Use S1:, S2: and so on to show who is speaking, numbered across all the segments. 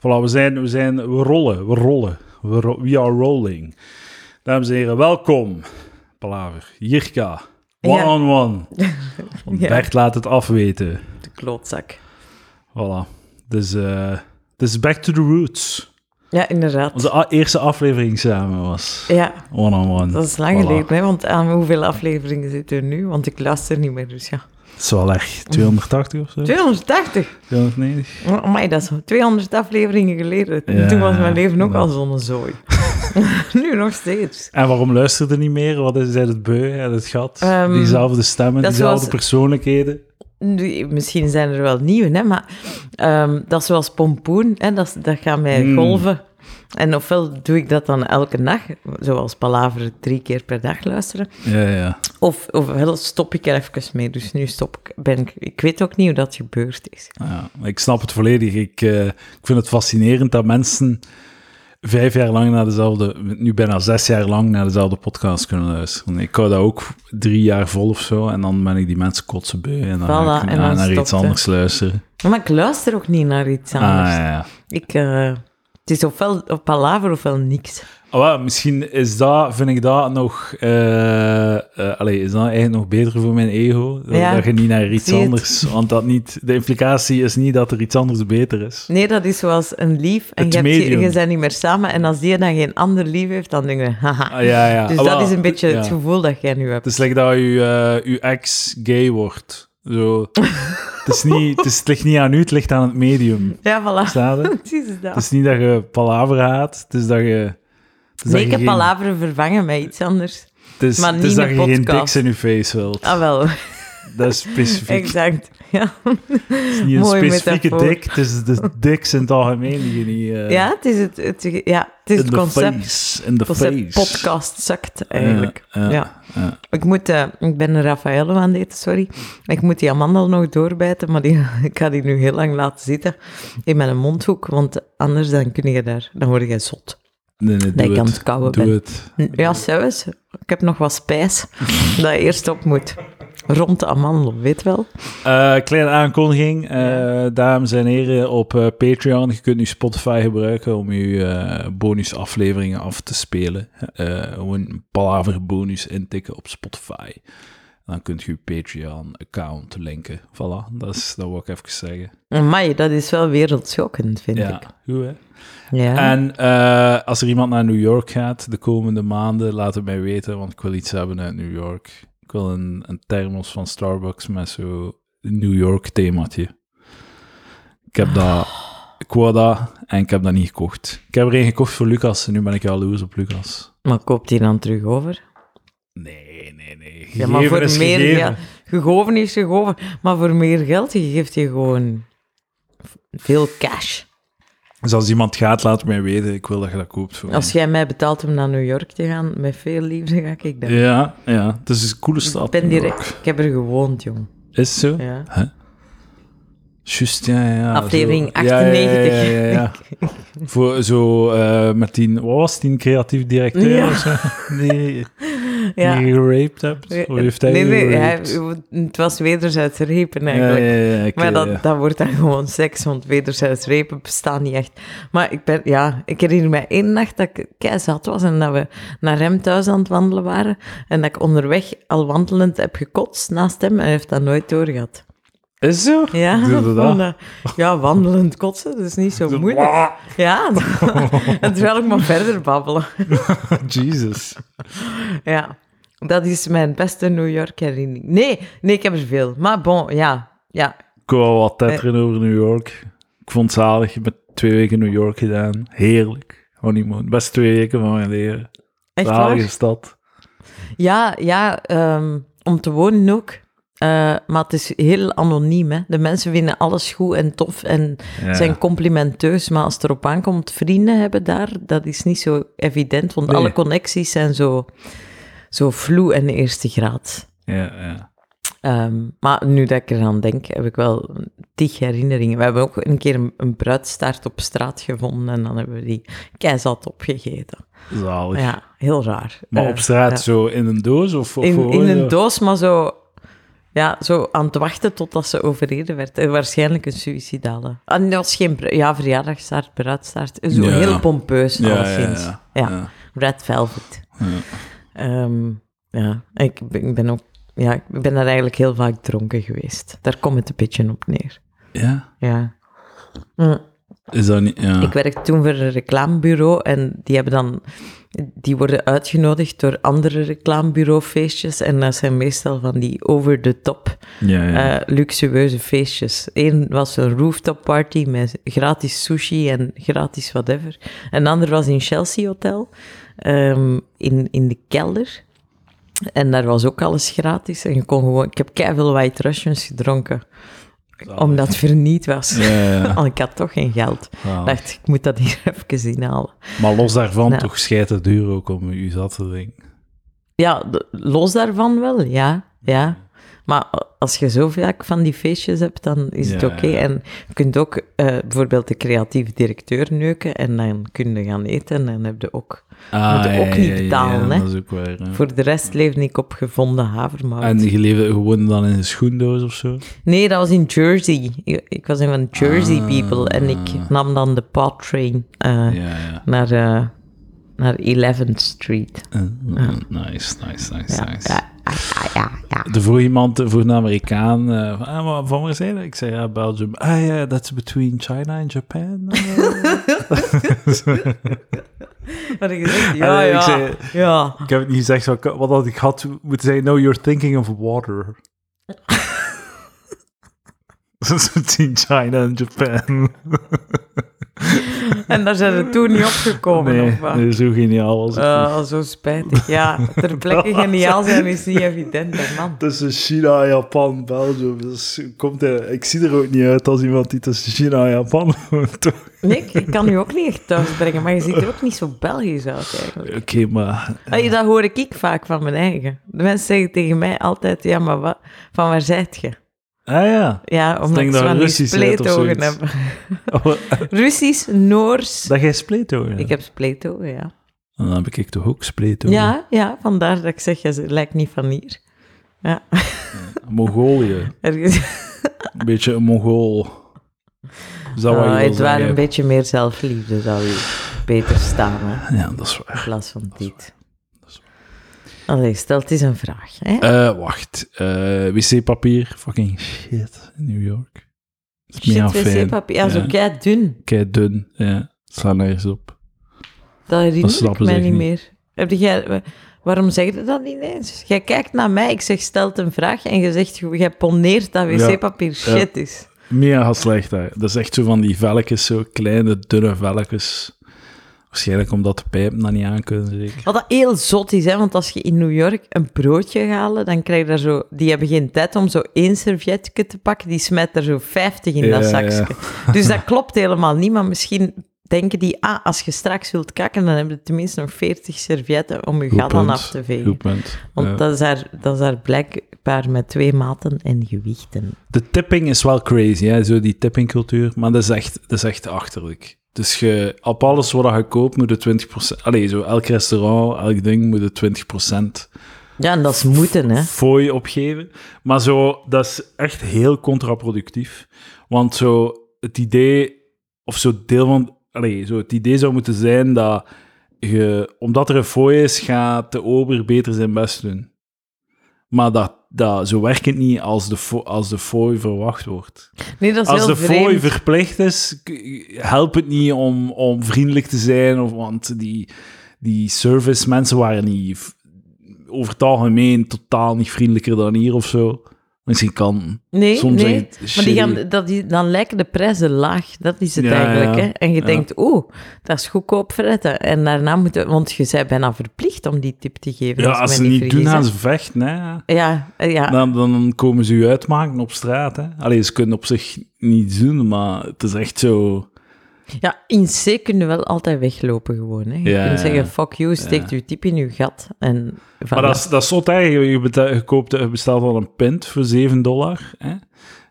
S1: Voilà, we zijn, we zijn, we rollen, we rollen. We, ro- we are rolling. Dames en heren, welkom. Palaver, Jirka,
S2: Ja.
S1: one-on-one.
S2: Ja.
S1: Bert laat het afweten.
S2: De klootzak.
S1: Voilà. Dus, eh dus back to the roots.
S2: Ja, inderdaad.
S1: Onze a- eerste aflevering samen was
S2: Ja,
S1: one-on-one.
S2: dat is lang
S1: Voilà.
S2: geleden, hè? want aan hoeveel afleveringen zitten er nu? Want ik luister niet meer, dus ja.
S1: Dat is wel erg. 280 of zo?
S2: 280!
S1: 290?
S2: Oh, Amai, dat is 200 afleveringen geleden.
S1: Ja,
S2: Toen was mijn leven ook
S1: dat-
S2: al zo'n zooi. nu nog steeds.
S1: En waarom luisterde niet meer? Wat is het beu en het gat?
S2: Ehm,
S1: diezelfde stemmen,
S2: dat is
S1: diezelfde
S2: zoals-
S1: persoonlijkheden.
S2: Nu, misschien zijn er wel nieuwe, hè, maar ehm, dat is zoals pompoen, hè, dat, is- dat gaan mij
S1: Mm.
S2: golven. En ofwel doe ik dat dan elke nacht, zoals Palaver drie keer per dag luisteren.
S1: Ja, ja.
S2: Of, ofwel stop ik er even mee. Dus nu stop ik. Ben ik, ik weet ook niet hoe dat gebeurd is.
S1: Ja, ik snap het volledig. Ik, eh, ik vind het fascinerend dat mensen vijf jaar lang naar dezelfde, nu bijna zes jaar lang naar dezelfde podcast kunnen luisteren. Ik hou dat ook drie jaar vol of zo en dan ben ik die mensen kotsen beu en dan ga
S2: Voilà,
S1: ik
S2: en
S1: na-
S2: dan
S1: naar
S2: stopt
S1: iets
S2: het.
S1: anders luisteren.
S2: Maar ik luister ook niet naar iets
S1: Ah,
S2: anders.
S1: ja, ja.
S2: Ik, eh, het is ofwel of palaver ofwel niks.
S1: Ah, wel, misschien is dat, vind ik dat nog, eh eh, allee, is dat eigenlijk nog beter voor mijn ego? Dat,
S2: Ja,
S1: dat je niet naar iets
S2: zie het.
S1: anders, want dat niet, de implicatie is niet dat er iets anders beter is.
S2: Nee, dat is zoals een lief. En
S1: Het
S2: je, hebt, je,
S1: medium.
S2: je bent niet meer samen. En als die dan geen ander lief heeft, dan denk je, haha.
S1: Ah, ja, ja.
S2: Dus
S1: Ah,
S2: dat
S1: wel,
S2: is een beetje het
S1: ja. Dus-
S2: gevoel dat jij nu hebt.
S1: Het is like dat je, eh, je ex gay wordt. Zo. het, is niet, het, is, het ligt niet aan u, het ligt aan het medium.
S2: Ja, voilà.
S1: Staat het?
S2: Precies dat.
S1: Het is niet dus dat dus je palaver haat, het is dat je... Het is dat
S2: nee,
S1: je
S2: ik heb
S1: geen-
S2: palaveren vervangen met iets anders.
S1: Het is,
S2: maar
S1: het is
S2: niet
S1: dat
S2: een
S1: je geen
S2: podcast.
S1: diks in je face wilt.
S2: Ah, wel.
S1: Dat is specifiek.
S2: exact. Ja.
S1: Het is niet een
S2: mooie
S1: specifieke
S2: metafoor.
S1: dik, het is de diks in het algemeen die je niet... eh,
S2: ja, het is het, het, ja, het, is
S1: in
S2: het
S1: de
S2: concept.
S1: face. In de
S2: concept
S1: face.
S2: podcast zakt eigenlijk.
S1: Ja,
S2: Ja.
S1: ja.
S2: Ik, moet, eh, ik ben een Raffaello aan het eten, sorry. Ik moet die amandel nog doorbijten, maar die, ik ga die nu heel lang laten zitten in mijn mondhoek, want anders dan kun je daar, dan word je zot.
S1: Nee, nee,
S2: Dat
S1: doe
S2: ik aan
S1: het.
S2: het kauwen
S1: Doe
S2: ben.
S1: het.
S2: Ja, zelfs. Ik heb nog wat spijs dat eerst op moet. Rond de amandel, weet wel.
S1: Eh, kleine aankondiging, eh, dames en heren, op eh, Patreon. Je kunt nu Spotify gebruiken om je eh bonusafleveringen af te spelen. Eh, Gewoon een palaver bonus intikken op Spotify. Dan kunt je je Patreon-account linken. Voilà, dat, is, dat wil ik even zeggen.
S2: Amai, dat is wel wereldschokkend, vind
S1: Ja,
S2: ik.
S1: goed hè?
S2: Ja.
S1: En eh, als er iemand naar New York gaat de komende maanden, laat het mij weten, want ik wil iets hebben uit New York. Ik wil een, een thermos van Starbucks met zo New York themaatje. Ik heb dat, ik wou dat en ik heb dat niet gekocht. Ik heb er een gekocht voor Lucas en nu ben ik jaloers op Lucas.
S2: Maar koopt die dan terug over?
S1: Nee, nee, nee.
S2: Ja, maar
S1: Gegeven
S2: voor
S1: is
S2: meer
S1: gegeven.
S2: geld. Gegoven is gegoven. Maar voor meer geld je geeft je gewoon v- veel cash.
S1: Dus als iemand gaat, laat het mij weten. Ik wil dat je dat koopt voor
S2: Als jij mij betaalt om naar New York te gaan, met veel liefde ga ik dat.
S1: mij. Ja, ja. Dus Het is een coole stad.
S2: ik ben
S1: New
S2: direct.
S1: York.
S2: Ik heb er gewoond, jong.
S1: Is het zo?
S2: Ja.
S1: Juist, ja, ja, ja.
S2: Aflevering
S1: zo. Ja, ja, ja, ja, ja, ja.
S2: 98.
S1: Voor zo eh, met die, wat was die, een creatief directeur
S2: Ja.
S1: of zo? Nee,
S2: Ja.
S1: die je geraped hebt? Of heeft hij
S2: nee,
S1: je
S2: nee,
S1: geraped?
S2: hij- het was wederzijds repen
S1: Ja,
S2: eigenlijk.
S1: ja, ja, ja, oké,
S2: Maar dat,
S1: ja.
S2: dat wordt dan gewoon seks, want wederzijds repen bestaan niet echt. Maar ik, ben, ja, ik herinner me één nacht dat ik kei zat was en dat we naar hem thuis aan het wandelen waren. En dat ik onderweg al wandelend heb gekotst naast hem en hij heeft dat nooit doorgehad.
S1: eh, Is zo?
S2: Ja,
S1: Doe je dat?
S2: van, eh, ja wandelend kotsen, dat is niet zo moeilijk.
S1: Wah,
S2: Ja, en terwijl ik maar verder babbelen.
S1: Jesus.
S2: Ja, dat is mijn beste New York herinnering. Nee, nee, ik heb er veel. Maar bon, ja. Ja,
S1: Ik wou wat tetteren over New York. Ik vond het zalig. Ik heb twee weken New York gedaan. Heerlijk. Honeymoon. Best twee weken van mijn leven.
S2: echt waar?
S1: Zalige stad.
S2: Ja, ja ehm, om te wonen ook. Eh, maar het is heel anoniem. Hè? De mensen vinden alles goed en tof en
S1: Ja.
S2: zijn complimenteus. Maar als het erop aankomt, vrienden hebben daar, dat is niet zo evident. Want
S1: Nee.
S2: alle connecties zijn zo, zo vloe en eerste graad.
S1: Ja, ja.
S2: Ehm, maar nu dat ik eraan denk, heb ik wel tig herinneringen. We hebben ook een keer een, een bruidstaart op straat gevonden en dan hebben we die keizat opgegeten.
S1: Zalig.
S2: Ja, heel raar.
S1: Maar
S2: Eh,
S1: op straat
S2: ja.
S1: zo in een doos? Of, of
S2: In,
S1: gewoon
S2: in
S1: zo?
S2: een doos, maar zo ja, zo aan het wachten totdat ze overreden werd. En waarschijnlijk een suïcidale. Ah, nee, dat was geen pre- ja, verjaardagstaart, bruidstaart. Zo
S1: Ja.
S2: heel pompeus,
S1: Ja,
S2: alleszins.
S1: ja,
S2: Ja.
S1: ja.
S2: Red Velvet.
S1: Ja.
S2: Ehm, ja, ik, ben- ik ben ook... Ja, ik ben daar eigenlijk heel vaak dronken geweest. Daar komt het een beetje op neer.
S1: Ja?
S2: Ja. Hm.
S1: Is dat niet... Ja.
S2: Ik werkte toen voor een reclamebureau en die hebben dan... Die worden uitgenodigd door andere reclamebureaufeestjes. En dat zijn meestal van die over-the-top
S1: ja, ja.
S2: eh, luxueuze feestjes. Eén was een rooftop party met gratis sushi en gratis whatever. Een ander was in Chelsea Hotel, ehm, in, in de kelder. En daar was ook alles gratis. En je kon gewoon, ik heb keihard White Russians gedronken,
S1: Zalig.
S2: omdat het verniet was.
S1: Ah. Ja, Ah. ja, ja.
S2: Al ik had toch geen geld.
S1: Zalig.
S2: Ik dacht, ik moet dat hier even inhalen.
S1: Maar los daarvan,
S2: Nou.
S1: toch schijt het duur ook om u zat te drinken.
S2: Ja, d- los daarvan wel, ja. ja. Maar als je zo vaak van die feestjes hebt, dan is het
S1: Ja,
S2: oké.
S1: ja.
S2: En je kunt ook eh, bijvoorbeeld de creatieve directeur neuken en dan kun je gaan eten en dan heb je ook...
S1: Ah,
S2: Moet je ook niet betalen, hè?
S1: Dat is ook waar, hè.
S2: Voor de rest leefde ik op gevonden havermout.
S1: En je leefde gewoon dan in een schoendoos of zo?
S2: Nee, dat was in Jersey. Ik, ik was een van de Jersey
S1: Ah.
S2: people en ik nam dan de podtrain eh
S1: Ja, ja.
S2: naar, eh, naar 11th Street.
S1: Eh, Nice, nice, nice,
S2: Ja,
S1: nice.
S2: ja, ja, ja, ja.
S1: Er vroeg iemand, eh, vroeg een Amerikaan, eh, van, ah, maar van waar zijn dat? Ik zei, ja, Belgium. Ah ja, that's between China and Japan. Eh,
S2: Maar je zegt, ja,
S1: Eh, ik
S2: ja,
S1: zei-
S2: ja.
S1: ik heb het niet gezegd, wat, ik- wat had ik had moeten zeggen, no, you're thinking of water. That's between China and Japan.
S2: En daar zijn we toen niet opgekomen.
S1: Nee,
S2: of wat?
S1: nee, zo geniaal was het niet.
S2: Eh, zo spijtig. Ja, ter plekke geniaal zijn is niet evident, hè, man.
S1: Tussen China, Japan, Belgium. Dus komt hij, ik zie er ook niet uit als iemand die tussen China en Japan woont. Oké,
S2: Nick, ik kan u ook niet echt thuis brengen, maar je ziet er ook niet zo Belgisch uit eigenlijk.
S1: maar...
S2: Hey, dat hoor ik vaak van mijn eigen. De mensen zeggen tegen mij altijd, ja, maar wat, van waar zijt je?
S1: Ah ja.
S2: Ja, omdat
S1: denk
S2: ik
S1: dat
S2: zo
S1: je
S2: aan die
S1: Russisch zijt of
S2: spleetogen
S1: zoiets.
S2: heb. Russisch, Noors.
S1: Oh, dat jij spleetogen
S2: Ik
S1: hebt.
S2: heb spleetogen, ja.
S1: Dan heb ik toch ook spleetogen.
S2: Ja, ja, vandaar dat ik zeg, je lijkt niet van hier. Ja,
S1: Mongolië.
S2: ergens...
S1: Een beetje een Mongool. Is dat wat je
S2: Oh,
S1: wil
S2: het waren
S1: zeggen?
S2: een beetje meer zelfliefde, zou je beter staan, hè.
S1: Ja, dat is waar.
S2: In plaats van dit.
S1: Dat is
S2: Allee, stel, het is een vraag. Hè?
S1: Eh, wacht. Eh, wc-papier. Fucking shit. in New York. Dat is mega
S2: Shit,
S1: fijn.
S2: wc-papier. Ja, zo
S1: Ja.
S2: kei dun.
S1: Kei dun. Ja. Sla nergens op.
S2: Dat
S1: Dat
S2: herinner ik
S1: snappen
S2: mij
S1: ze
S2: niet
S1: echt
S2: meer. Heb jij, wa- waarom zeg je dat niet eens? Jij kijkt naar mij, ik zeg, stelt een vraag en je zegt, jij poneert dat
S1: Ja.
S2: wc-papier shit is.
S1: Mega slecht daar. Dat is echt zo van die velkjes, zo kleine, dunne velkjes. Waarschijnlijk omdat de pijpen dat niet aan kunnen, zeker.
S2: Wat dat heel zot is, hè? want als je in New York een broodje gaat halen, dan krijg je daar zo... Die hebben geen tijd om zo één servetje te pakken, die smijt er zo 50 in dat
S1: Ja,
S2: zakje. Dus dat klopt helemaal niet, maar misschien denken die, ah, als je straks wilt kakken, dan heb je tenminste nog 40 servetten om je
S1: Goed
S2: gat aan
S1: punt.
S2: af te vegen.
S1: Goed punt.
S2: Want
S1: Ja.
S2: dat, is daar, dat is daar blijkbaar met twee maten en gewichten.
S1: De tipping is wel crazy, hè? zo die tippingcultuur. Maar dat is echt, dat is echt achterlijk. Dus je, op alles wat je koopt moet je 20%... Allee, zo elk restaurant, elk ding moet je 20%
S2: Ja, en dat is moeten, hè.
S1: fooi opgeven. Maar zo, dat is echt heel contraproductief. Want zo, het idee, of zo deel van, allee, zo, het idee zou moeten zijn dat je, omdat er een fooi is, gaat de ober beter zijn best doen. Maar dat, dat, zo werkt het niet als de, fo- als de fooi verwacht wordt.
S2: Nee, dat is
S1: Als
S2: heel
S1: de fooi
S2: vreemd.
S1: verplicht is, k- helpt het niet om, om vriendelijk te zijn, of, want die, die service mensen waren niet v- over het algemeen totaal niet vriendelijker dan hier of zo. Misschien kan.
S2: Nee,
S1: Soms
S2: nee.
S1: echt
S2: Maar die
S1: shitty.
S2: gaan, dat die, dan lijken de prijzen laag. Dat is het
S1: Ja,
S2: eigenlijk,
S1: ja.
S2: hè. En je
S1: Ja.
S2: denkt, oeh, dat is goedkoop fretten. En daarna moeten... Want je bent bijna verplicht om die tip te geven.
S1: Ja,
S2: ik
S1: als
S2: me
S1: ze niet doen,
S2: vergis, hè.
S1: gaan Nou. ze vechten. Hè.
S2: Ja, eh, ja.
S1: Dan, dan komen ze u uitmaken op straat. Hè. Allee, ze kunnen op zich niets doen, maar het is echt zo...
S2: Ja, in C kun je wel altijd weglopen gewoon. Hè. Je
S1: Ja,
S2: kunt
S1: ja,
S2: zeggen,
S1: ja.
S2: fuck you, steekt
S1: Ja.
S2: uw tip in uw gat. En voilà.
S1: Maar dat is, dat is zot eigenlijk. Je, beta- je koopt, je bestelt al een pint voor 7 dollar. Hè?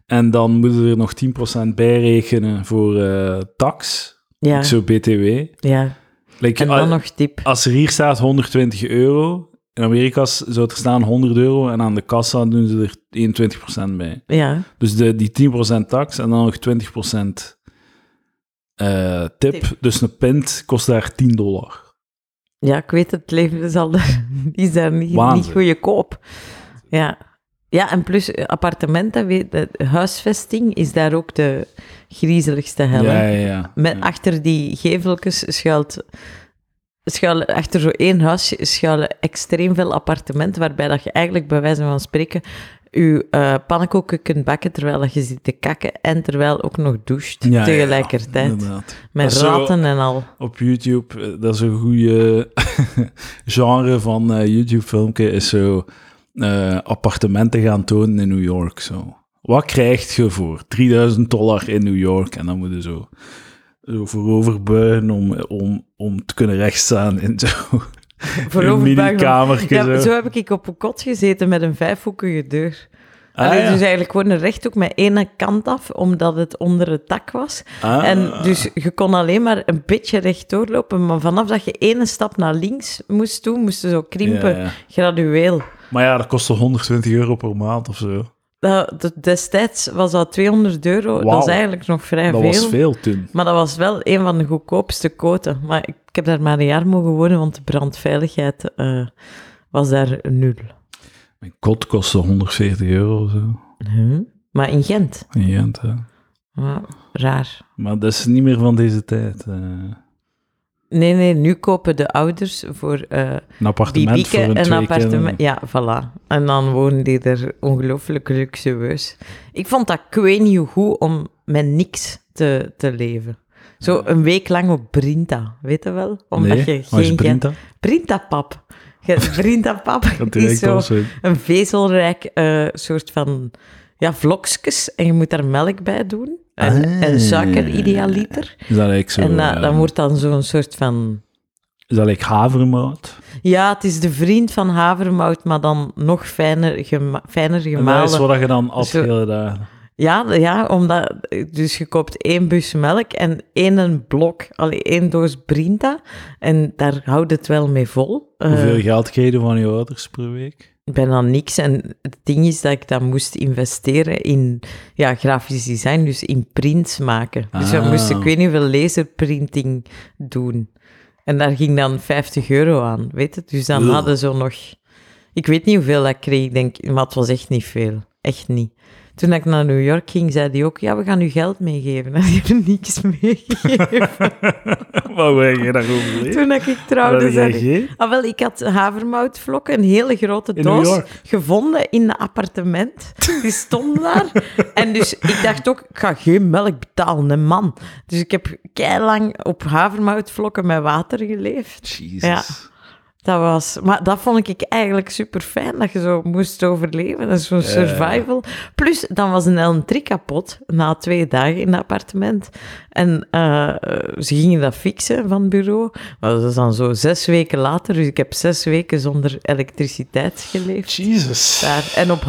S1: En dan moeten er nog 10% bij rekenen voor eh, tax.
S2: ja,
S1: Zo BTW.
S2: ja,
S1: Like,
S2: en
S1: a-
S2: dan nog tip.
S1: Als er hier staat 120 euro, in Amerika s- zou het er staan 100 euro en aan de kassa doen ze er 21% bij.
S2: Ja,
S1: Dus de, die 10% tax en dan nog 20% eh, tip.
S2: Tip.
S1: Dus een pint kost daar 10 dollar.
S2: ja ik weet het, het leven is, al daar, is daar niet, niet
S1: Waanzin.
S2: goede koop. Ja. ja, en plus eh, appartementen, weet, eh, huisvesting is daar ook de griezeligste hel. hè.
S1: Ja, ja, ja.
S2: Met,
S1: Ja.
S2: Achter die geveltjes schuilt, schuilen, achter zo één huis schuilen extreem veel appartementen, waarbij dat je eigenlijk bij wijze van spreken je eh pannenkoeken kunt bakken terwijl dat je zit te kakken en terwijl ook nog doucht
S1: Ja, ja, ja.
S2: tegelijkertijd.
S1: Inderdaad.
S2: Met
S1: Dat is zo-
S2: raten en al.
S1: Op YouTube, eh, dat is een goede genre van eh, YouTube-filmpje, is zo eh, appartementen gaan tonen in New York. Zo. Wat krijg je voor 3000 dollar in New York? En dan moet je zo, zo vooroverbuigen om, om, om te kunnen rechtstaan in zo'n
S2: Vooroverbuigen.
S1: mini-kamertje.
S2: Ja,
S1: zo.
S2: zo heb ik op een kot gezeten met een vijfhoekige deur.
S1: Ah,
S2: Allee,
S1: ja.
S2: Dus eigenlijk gewoon een rechthoek met ene kant af, omdat het onder het dak was.
S1: Ah.
S2: En dus je kon alleen maar een beetje rechtdoor lopen, maar vanaf dat je ene stap naar links moest doen, moest je zo krimpen,
S1: Ja, ja.
S2: gradueel.
S1: Maar ja, dat kostte 120 euro per maand of zo.
S2: Dat, dat- destijds was dat 200 euro,
S1: Wauw.
S2: dat is eigenlijk nog vrij
S1: dat
S2: veel.
S1: was veel toen.
S2: Maar dat was wel een van de goedkoopste koten. Maar ik, ik heb daar maar een jaar mogen wonen, want de brandveiligheid eh, was daar nul.
S1: Mijn kot kostte 140 euro of zo.
S2: Huh? Maar in Gent,
S1: In Gent, hè.
S2: ja, Ah, raar.
S1: Maar dat is niet meer van deze tijd. eh.
S2: Nee, nee, nu kopen de ouders voor eh
S1: Een appartement
S2: bibieke
S1: voor een
S2: een
S1: twee eh. kinderen.
S2: appartement. Ja, voilà. En dan wonen die er ongelooflijk luxueus. Ik vond dat ik weet niet hoe goed om met niks te, te leven. Zo een week lang op Brinta, weet je wel? Omdat
S1: nee,
S2: je
S1: maar is
S2: geen...
S1: Brinta?
S2: Brintapap. Je- Brintapap
S1: Dat
S2: is
S1: direct
S2: zo
S1: al zo.
S2: een vezelrijk eh, soort van ja, vlokjes. En je moet daar melk bij doen. En,
S1: Ah.
S2: en suiker, idealiter.
S1: Is dat eigenlijk zo?
S2: en dat-
S1: eh,
S2: dan wordt dan zo'n soort van...
S1: Is dat eigenlijk havermout?
S2: Ja, het is de vriend van havermout, maar dan nog fijner, gema- fijner
S1: En dat is
S2: gemalen.
S1: wat je dan at
S2: Zo- Eh.
S1: hele dagen.
S2: Ja, ja, omdat... Dus je koopt één bus melk en één blok, allee, één doos brinta. En daar houdt het wel mee vol. Eh,
S1: Hoeveel geld kreeg je van je ouders per week?
S2: bijna niks. En het ding is dat ik dan moest investeren in ja, grafisch design, dus in prints maken. Dus we
S1: Ah.
S2: moesten, ik weet niet hoeveel laserprinting doen. En daar ging dan 50 euro aan, weet het? Dus dan
S1: Ugh.
S2: hadden ze nog... Ik weet niet hoeveel dat ik kreeg, ik denk, maar het was echt niet veel. Echt niet. Toen ik naar New York ging, zei die ook, ja, we gaan u geld meegeven. En die hebben niks meegegeven.
S1: Wat wil je daarover leren?
S2: Toen ik
S1: Wat
S2: trouwde,
S1: heb
S2: zei
S1: jij
S2: die-
S1: gegeten?
S2: Ah, wel, ik had havermoutvlokken, een hele grote
S1: In New
S2: doos,
S1: York?
S2: gevonden in een appartement. Die stond daar. en dus ik dacht ook, ik ga geen melk betalen, hè, man. Dus ik heb lang op havermoutvlokken met water geleefd.
S1: Jezus.
S2: Dat was, maar dat vond ik eigenlijk super fijn dat je zo moest overleven. Dat is zo'n survival. Plus, dan was een elektriek kapot na twee dagen in het appartement. En eh, ze gingen dat fixen van het bureau. Maar dat is dan zo zes weken later. Dus ik heb zes weken zonder elektriciteit geleefd.
S1: Jezus.
S2: Daar. En op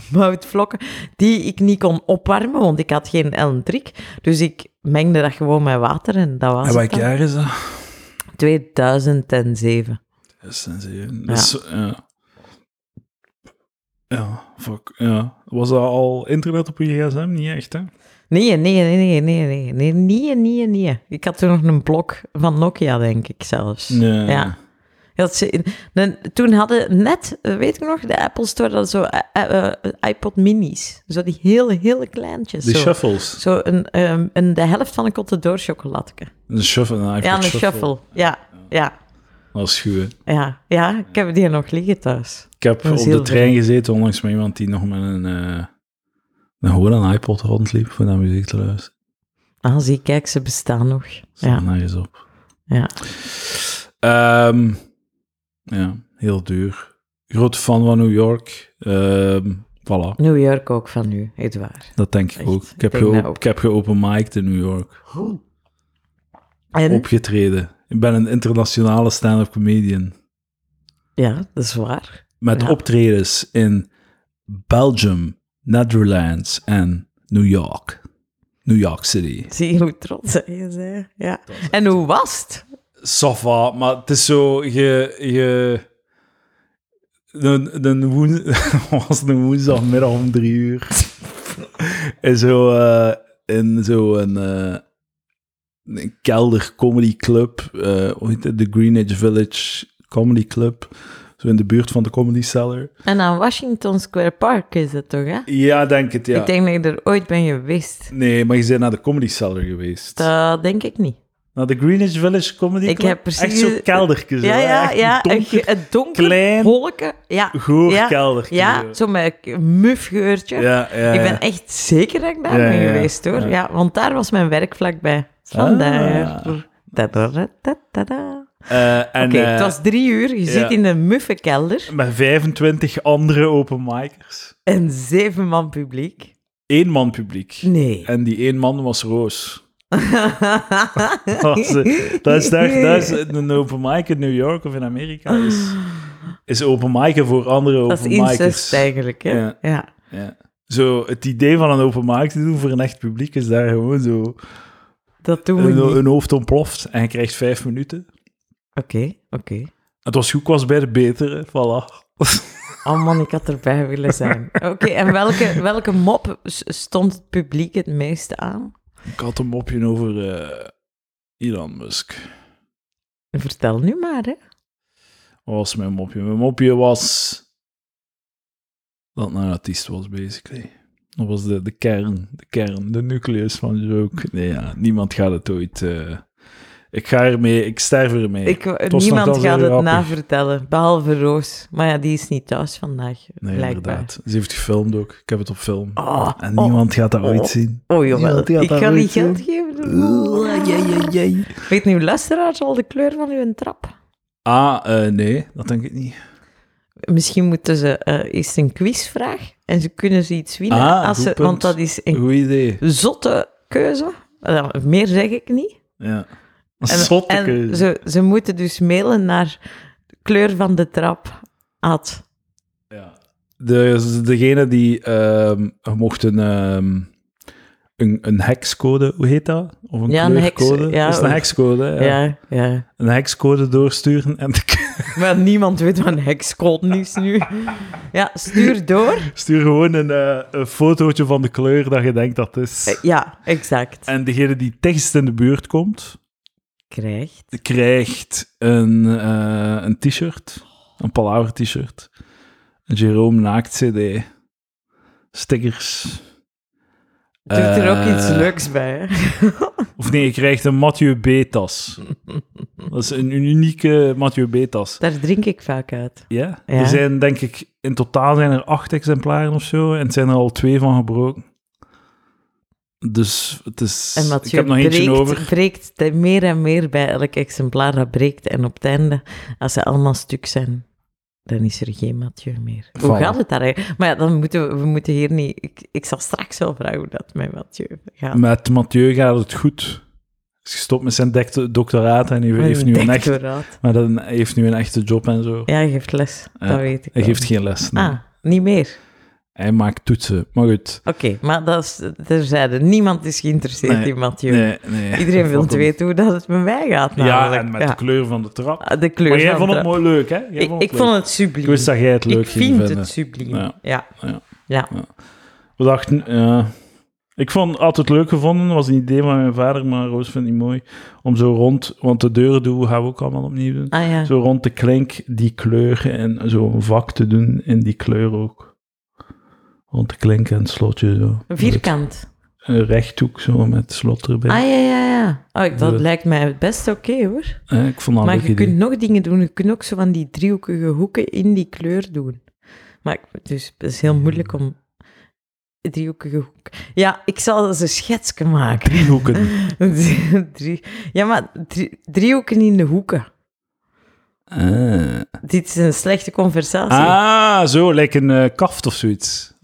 S2: havermoutvlokken, die ik niet kon opwarmen, want ik had geen elektriek. Dus ik mengde dat gewoon met water en dat was
S1: En
S2: het
S1: welk
S2: dan.
S1: jaar is dat?
S2: 2007.
S1: Dat is een zeven.
S2: Ja.
S1: Dat is, ja. Ja, fuck. Ja. Was dat al internet op je gsm? Niet echt, hè?
S2: Nee, nee, nee, nee, nee, nee, nee, nee, nee, nee. Ik had toen nog een blok van Nokia, denk ik zelfs.
S1: Nee.
S2: Ja. Je had ze- en toen hadden net, eh, weet ik nog, de Apple Store dat zo eh, eh, eh, iPod minis. Zo die hele, hele kleintjes.
S1: Die
S2: zo
S1: shuffles.
S2: zo een, ehm, een, de helft van een Cote d'Or chocoladeke.
S1: Een shuffle. Een iPod
S2: Ja, een shuffle. Ja, ja,
S1: Dat is goed, hè.
S2: ja, ja. Ik heb die nog liggen thuis.
S1: Ik heb
S2: Een
S1: op de
S2: zilveren.
S1: trein gezeten onlangs met iemand die nog met een, eh, een gewoon een iPod rondliep voor naar muziek te luisteren.
S2: Ah, zie, kijk, ze bestaan nog.
S1: Ja.
S2: Ja,
S1: Daar is op.
S2: ja.
S1: Ehm, ja, heel duur. Grote fan van New York. Ehm, voilà,
S2: New York ook van u, Edouard.
S1: dat denk ik
S2: Echt,
S1: ook.
S2: ik
S1: Ik heb,
S2: denk
S1: geo-
S2: dat ook.
S1: ik heb geopen mic'd in New York.
S2: En,
S1: Opgetreden. Ik ben een internationale stand-up comedian.
S2: ja, dat is waar.
S1: Met
S2: Ja.
S1: optredens in Belgium, Netherlands en New York. New York City.
S2: Zie je hoe trots hij is, hè? Ja. En hoe was het?
S1: Safa, maar het is zo, je, je, de, de woens, was een woensdagmiddag om drie uur. en zo eh, in zo'n eh, een kelder comedy club, eh, hoe heet het? De Greenwich Village Comedy Club. Zo in de buurt van de Comedy Cellar.
S2: En aan Washington Square Park is het toch, hè?
S1: Ja, denk het, ja.
S2: Ik denk dat je er ooit ben geweest.
S1: Nee, maar je bent naar de Comedy Cellar geweest.
S2: Dat denk ik niet.
S1: Naar de Greenwich Village Comedy
S2: Ik
S1: Club.
S2: heb precies-
S1: Echt zo'n keldertje. zo,
S2: Ja, ja,
S1: echt een
S2: ja. Een
S1: donker,
S2: ge- Het donker,
S1: klein,
S2: holken. Ja,
S1: goor
S2: Ja,
S1: keldertje.
S2: ja
S1: zo.
S2: zo met een mufgeurtje.
S1: ja, ja,
S2: Ik
S1: ja.
S2: ben echt zeker dat ik daar
S1: Ja,
S2: ben
S1: ja,
S2: geweest, hoor.
S1: ja.
S2: Ja. want daar was mijn werkvlak bij.
S1: Ah.
S2: Vandaar. Tadadadadada.
S1: Eh, en,
S2: Oké,
S1: eh,
S2: het was drie uur. Je
S1: ja.
S2: zit in een muffenkelder.
S1: Met 25 andere open micers.
S2: Een zeven man publiek.
S1: Eén man publiek.
S2: Nee.
S1: En die één man was Roos. Dat is, eh, dat is, echt- dat is een open mic in New York of in Amerika. Is, is open mic voor andere
S2: Dat is
S1: open micers.
S2: incest eigenlijk, hè?
S1: Oh, Ja.
S2: Ja.
S1: Ja. Zo, het idee van een open mic te doen voor een echt publiek is daar gewoon zo...
S2: Dat doen we niet.
S1: Een,
S2: Oké,
S1: een hoofd ontploft en je krijgt vijf minuten.
S2: oké.
S1: Het was goed, ik was bij de betere. Voilà.
S2: Oh man, ik had erbij willen zijn. Oké, en welke, welke mop s- stond het publiek het meeste aan?
S1: Ik had een mopje over eh Elon Musk.
S2: Vertel nu maar, hè.
S1: Wat was mijn mopje? Mijn mopje was dat een artiest was, basically. Dat was de, de kern, de kern, de nucleus van de joke. Nee, ja, niemand gaat het ooit... eh, ik ga ermee, ik sterf ermee.
S2: Ik,
S1: was
S2: niemand
S1: nogthans
S2: gaat
S1: heel
S2: het
S1: grappig.
S2: navertellen, behalve Roos. Maar ja, die is niet thuis vandaag,
S1: nee,
S2: blijkbaar.
S1: inderdaad. Ze heeft gefilmd ook. Ik heb het op film.
S2: Oh,
S1: en
S2: oh,
S1: niemand gaat dat ooit
S2: oh.
S1: zien.
S2: Oh
S1: Niemand
S2: jawel,
S1: die had
S2: ik
S1: dat
S2: ga niet
S1: ooit
S2: geld geven. Weet nu luisteraars al de kleur van uw trap?
S1: Ah, eh, nee, dat denk ik niet.
S2: Misschien moeten ze eh eerst een quizvraag en ze kunnen ze iets winnen.
S1: Ah, goed
S2: als ze,
S1: punt.
S2: want dat is een
S1: Goed idee.
S2: zotte keuze. Eh, meer zeg ik niet.
S1: Ja.
S2: En,
S1: Zotte
S2: en
S1: keuze.
S2: Ze, ze moeten dus mailen naar kleur van de trap. At.
S1: Ja. Dus degene die ehm mochten ehm een, een hexcode, hoe heet dat? Of een
S2: Ja, een hex-
S1: kleurcode?
S2: ja,
S1: dat is een
S2: een-
S1: hexcode,
S2: Ja.
S1: ja.
S2: eh, Ja,
S1: Een hexcode doorsturen en
S2: Maar niemand weet wat een hexcode is nu. Ja, stuur door.
S1: stuur gewoon een, eh, een fotootje van de kleur dat je denkt dat het is.
S2: Eh, Ja, exact.
S1: En degene die tekst in de buurt komt,
S2: Krijgt.
S1: krijgt een, eh, een t-shirt, een Palaver t-shirt, een Jerome Naakt CD, stickers.
S2: Doet er ook iets
S1: Eh,
S2: leuks bij, hè?
S1: Of nee, je krijgt een Mathieu B-tas. Dat is een unieke Mathieu B-tas.
S2: Daar drink ik vaak uit.
S1: Ja?
S2: Ja.
S1: Er zijn denk ik, in totaal zijn er acht exemplaren of zo. En het zijn er al twee van gebroken. Dus het is...
S2: En
S1: ik
S2: Mathieu
S1: heb nog eentje
S2: breekt,
S1: over.
S2: breekt te- meer en meer bij elk exemplaar dat breekt. En op het einde, als ze allemaal stuk zijn, dan is er geen Mathieu meer. Hoe
S1: Voilà.
S2: gaat het daar eigenlijk? Maar ja, dan moeten we, we moeten hier niet... Ik, ik zal straks wel vragen hoe dat met Mathieu gaat.
S1: Met Mathieu gaat het goed. Hij is gestopt met zijn dekt- doctoraat en
S2: Oh,
S1: hij heeft nu, een echt,
S2: Dectoraat.
S1: maar dan, hij heeft nu een echte job en zo.
S2: Ja, hij geeft les.
S1: Ja,
S2: Dat weet ik
S1: Hij
S2: wel.
S1: geeft geen les. nee.
S2: Ah, niet meer.
S1: Hij maakt toetsen. Maar goed.
S2: Oké, maar dat is terzijde. Niemand is geïnteresseerd
S1: Nee,
S2: in Mathieu.
S1: Nee, nee.
S2: Iedereen wil
S1: Wat een-
S2: weten hoe dat het met mij gaat.
S1: Ja,
S2: namelijk.
S1: en met de kleur van de trap.
S2: Ah, de kleur
S1: Maar jij
S2: van
S1: vond
S2: de-
S1: het mooi leuk, hè? Jij
S2: Ik,
S1: vond
S2: ik
S1: leuk.
S2: vond het subliem.
S1: Ik wist dat jij het leuk
S2: ik
S1: ging
S2: vind
S1: vinden.
S2: het subliem.
S1: Ja.
S2: Ja. Ja.
S1: Ja. We dachten, ja. Ik vond altijd leuk gevonden, was een idee van mijn vader, maar Roos vindt het niet mooi. Om zo rond, want de deuren doen gaan we ook allemaal opnieuw doen.
S2: Ah ja.
S1: Zo rond de klink die kleur en zo een vak te doen in die kleur ook. Rond de klink en het slotje zo.
S2: Een Vierkant.
S1: Een rechthoek zo met slot erbij.
S2: Ah ja, ja, ja. Oh, ik, dat
S1: Ja.
S2: lijkt mij het best oké hoor.
S1: Eh, ik vond dat een
S2: maar
S1: leuk
S2: je
S1: idee.
S2: kunt nog dingen doen. Je kunt ook zo van die driehoekige hoeken in die kleur doen. Maar ik- dus, het is heel moeilijk om. Driehoekige hoek. Ja, ik zal eens een schetsje maken.
S1: Driehoeken.
S2: Drie- ja, maar drie- driehoeken in de hoeken.
S1: Ah.
S2: Dit is een slechte conversatie.
S1: Ah, zo, lijkt een eh, kaft of zoiets.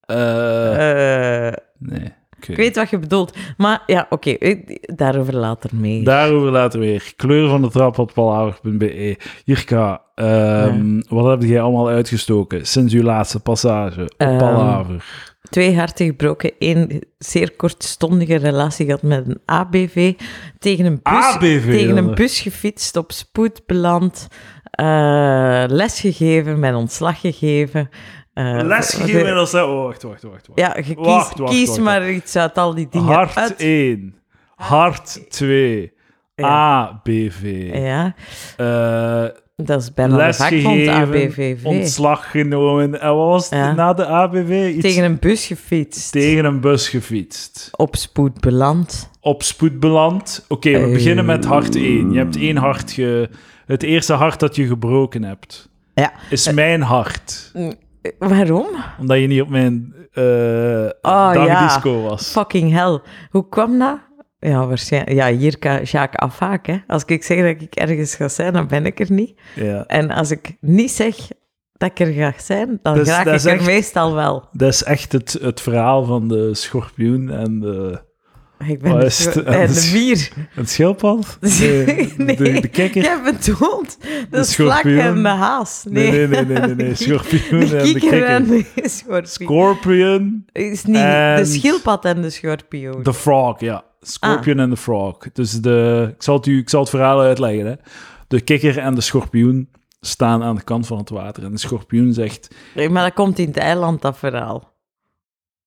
S1: Eh,
S2: Eh,
S1: nee. oké.
S2: ik weet wat je bedoelt. Maar ja, oké. ik- daarover later mee.
S1: Daarover later weer. Kleur van de trap op palaver.be. E. Jirka, ehm, wat heb jij allemaal uitgestoken sinds uw laatste passage op
S2: Ehm,
S1: Palaver?
S2: twee harten gebroken, één zeer kortstondige relatie gehad met een ABV, tegen een bus,
S1: ABV,
S2: tegen een
S1: jongen.
S2: bus gefietst, op spoed beland, eh, eh, lesgegeven, mijn ontslag gegeven. eh,
S1: Lesgegeven
S2: voor-
S1: en als... Oh, wacht, wacht, wacht. wacht.
S2: Ja, je kies,
S1: Wacht, wacht,
S2: kies
S1: wacht.
S2: maar iets uit al die dingen.
S1: Hart
S2: uit.
S1: 1, hart 2, ABV,
S2: Ja,
S1: eh,
S2: dat is bijna de vakbond
S1: lesgegeven,
S2: ABVV.
S1: ontslag genomen. En wat was het
S2: Ja.
S1: na de ABV? Iets
S2: Tegen een bus gefietst.
S1: tegen een bus gefietst.
S2: Op spoed beland.
S1: Op spoed beland. Oké, we
S2: Eh.
S1: beginnen met hart 1. Je hebt één hart ge... Het eerste hart dat je gebroken hebt,
S2: Ja.
S1: is mijn hart.
S2: Eh, Waarom?
S1: Omdat je niet op mijn eh
S2: Ah, ja.
S1: dagdisco was.
S2: Fucking hell. Hoe kwam dat? Ja, waarschijnlijk. Ja, hier kan Jacques afhaak, hè. Als ik zeg dat ik ergens ga zijn, dan ben ik er niet.
S1: Ja.
S2: En als ik niet zeg dat ik er ga zijn, dan
S1: Dus
S2: raak
S1: dat
S2: ik
S1: is
S2: er
S1: echt-
S2: meestal wel.
S1: Dat is echt het, het verhaal van de schorpioen en de...
S2: Ik ben
S1: Wat
S2: er
S1: Oh, is
S2: zo-
S1: het?
S2: en de bier.
S1: Het schildpad?
S2: Nee,
S1: De, de kikker?
S2: Jij bedoelt de slak
S1: schorpioen.
S2: en de haas.
S1: nee,
S2: Nee,
S1: nee, nee, nee, nee, nee.
S2: De kiek-
S1: Schorpioen
S2: De
S1: en de
S2: kikker en
S1: kikker.
S2: de schorpioen.
S1: Scorpion,
S2: Is niet de
S1: En-
S2: schildpad en de schorpioen.
S1: the frog, ja.
S2: Ah.
S1: Scorpion en de frog. Dus de, ik, zal het u, ik zal het verhaal uitleggen. Hè. De kikker en de schorpioen staan aan de kant van het water. En de schorpioen zegt...
S2: Nee, maar dat komt in het eiland, dat verhaal.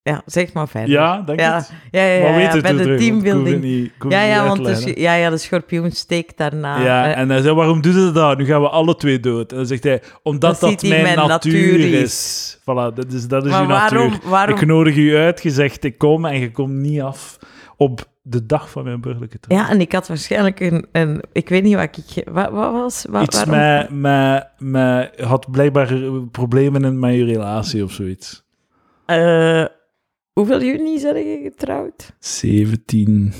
S2: Ja, zeg maar verder.
S1: Ja, denk
S2: Ja,
S1: het.
S2: ja, ja,
S1: Maar
S2: ja,
S1: weet
S2: ja,
S1: het
S2: bij
S1: u
S2: de
S1: terug, want ik hoef het
S2: teambuilding.
S1: niet- ik hoef
S2: Ja,
S1: het niet
S2: ja,
S1: uit te
S2: want de,
S1: leggen.
S2: sch- ja, ja, de schorpioen steekt daarna.
S1: Ja,
S2: Eh,
S1: en hij zei, waarom doet hij dat? Nu gaan we alle twee dood. En dan zegt hij, omdat
S2: Dat
S1: dat,
S2: ziet hij
S1: mijn,
S2: mijn
S1: natuur,
S2: natuur
S1: is.
S2: is.
S1: Voilà, dat is, dat is
S2: maar
S1: uw
S2: waarom,
S1: natuur.
S2: waarom,
S1: Ik nodig u uit, gezegd ik kom en je komt niet af op de dag van mijn burgerlijke trouwen.
S2: Ja, en ik had waarschijnlijk een, een ik weet niet wat ik, ge- wat, wat was, wa-
S1: Iets
S2: waarom?
S1: met, met, met, had blijkbaar problemen in mijn relatie of zoiets.
S2: Eh, hoeveel juni zijn je getrouwd?
S1: 17.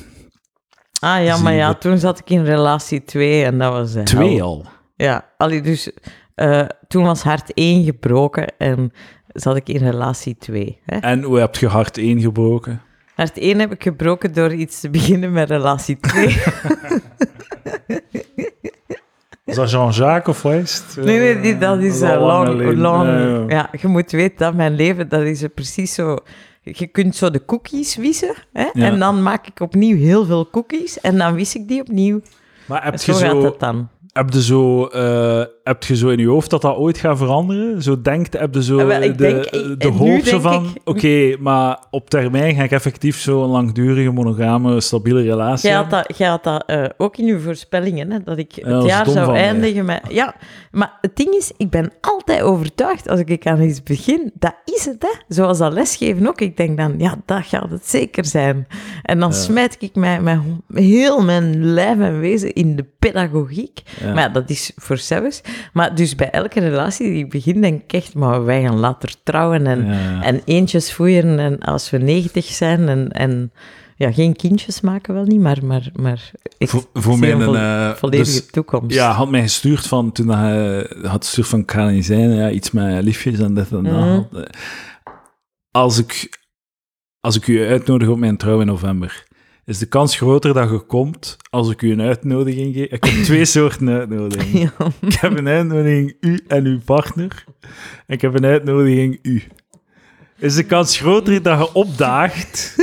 S2: Ah ja, maar ja,
S1: Zeven.
S2: toen zat ik in relatie 2 en dat was de hel.
S1: Twee al.
S2: Ja, allee, dus eh, toen was hart 1 gebroken en zat ik in relatie 2. Hè?
S1: En hoe heb je hart één gebroken?
S2: Hart 1 heb ik gebroken door iets te beginnen met relatie 2.
S1: Is dat Jean-Jacques of West?
S2: Nee, nee, die, dat is eh, lang. lang
S1: ja.
S2: ja, je moet weten dat mijn leven, dat is eh, precies zo... Je kunt zo de cookies wissen, hè?
S1: Ja.
S2: en dan maak ik opnieuw heel veel cookies, en dan wis ik die opnieuw.
S1: Maar heb je
S2: zo gaat
S1: zo
S2: dat dan.
S1: Heb je, zo, eh, heb je zo in je hoofd dat dat ooit gaat veranderen? Zo denkt, heb je zo
S2: Eh, wel,
S1: de,
S2: ik denk- ik-
S1: de
S2: eh, nu
S1: hoop zo
S2: denk
S1: van...
S2: ik-
S1: Oké, maar op termijn ga ik effectief zo'n langdurige, monogame, stabiele relatie
S2: Jij had
S1: hebben?
S2: dat, jij had dat eh, ook in uw voorspellingen, hè? dat ik het
S1: dat is
S2: jaar
S1: dom van
S2: zou
S1: mij.
S2: eindigen met... Ja, maar het ding is, ik ben altijd overtuigd, als ik aan iets begin, dat is het, hè. Zoals dat lesgeven ook. Ik denk dan, ja, dat gaat het zeker zijn. En dan
S1: Ja.
S2: smijt ik mijn, mijn, heel mijn lijf en wezen in de pedagogiek.
S1: Ja.
S2: Maar ja, dat is voor zelfs. Maar dus bij elke relatie die ik begin, denk ik echt, maar wij gaan later trouwen en...
S1: Ja.
S2: En eentjes foeieren en als we 90 zijn en, en ja, geen kindjes maken wel niet, maar, maar, maar ik
S1: Voor- voor
S2: zie
S1: mij
S2: een
S1: een,
S2: vo-
S1: eh,
S2: volledige
S1: dus-
S2: toekomst.
S1: ja, had mij gestuurd van... Toen hij had gestuurd van, ik ga niet zijn, ja, iets met liefjes en dit en dat. eh,
S2: Mhm.
S1: Als ik, als ik u uitnodig op mijn trouw in november, is de kans groter dat je komt als ik u een uitnodiging geef. Ik heb twee soorten uitnodigingen.
S2: Ja.
S1: Ik heb een uitnodiging u en uw partner. En ik heb een uitnodiging u. Is de kans groter dat je opdaagt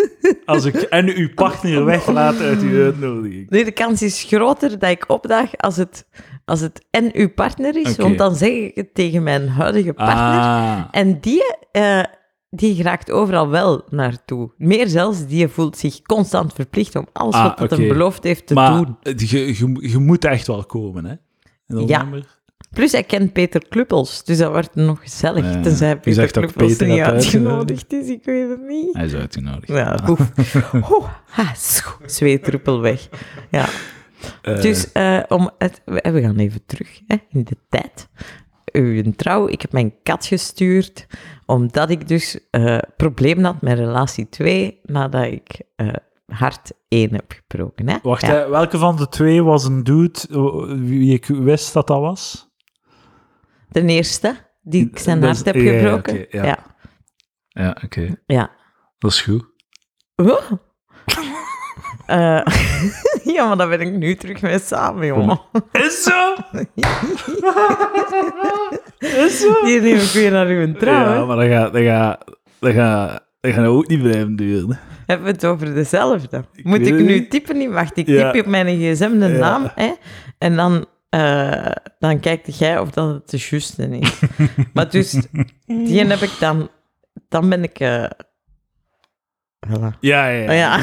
S1: als ik en uw partner weglaat uit uw uitnodiging?
S2: Nee, de kans is groter dat ik opdaag als het, als het en uw partner is,
S1: Oké.
S2: want dan zeg ik het tegen mijn huidige partner.
S1: Ah,
S2: En die, eh, die raakt overal wel naartoe. Meer zelfs, die voelt zich constant verplicht om alles
S1: Ah,
S2: wat het hem
S1: oké.
S2: beloofd heeft te
S1: maar
S2: doen.
S1: het- je, je, je moet echt wel komen, hè? In november.
S2: Plus, hij kent Peter Kluppels, dus dat wordt nog gezellig.
S1: Ja, ja.
S2: Tenzij
S1: Je
S2: Peter
S1: zegt dat
S2: Kluppels
S1: Peter
S2: niet
S1: had
S2: uitgenodigd is, ik weet het niet.
S1: Hij is uitgenodigd.
S2: Ja, oef. Ho, ha, scho- ah, zweetdruppel weg. Ja.
S1: Eh,
S2: Dus eh, om het, we we gaan even terug hè, in de tijd. Uw trouw, ik heb mijn kat gestuurd, omdat ik dus eh probleem had met relatie 2, nadat ik eh, hart 1 heb gebroken. Hè?
S1: wacht,
S2: Ja.
S1: hè, welke van de twee was een dude eh, wie ik wist dat dat was?
S2: De eerste, die ik zijn
S1: Dat
S2: hart
S1: is-
S2: heb
S1: ja, ja,
S2: gebroken.
S1: oké, ja.
S2: ja. ja.
S1: Ja, oké.
S2: ja.
S1: Dat is goed.
S2: Huh? Eh, ja, maar daar ben ik nu terug mee samen, jongen.
S1: Is zo? is zo?
S2: Die neem ik weer naar uw trouw.
S1: Ja,
S2: hè.
S1: maar dat gaat, dat gaat, dat gaat, dat gaat ook niet blijven duren.
S2: Hebben we het over dezelfde? Moet
S1: weet
S2: ik
S1: het
S2: nu
S1: niet.
S2: typen? niet? Wacht, ik
S1: Ja.
S2: typ op mijn gsm de
S1: Ja.
S2: naam. Hè? En dan eh, eh, dan kijkt jij of dat het de juiste is. maar dus, die heb ik dan... Dan ben ik... eh voilà. Oh
S1: Ja, Oh, ja, ja.
S2: Ja.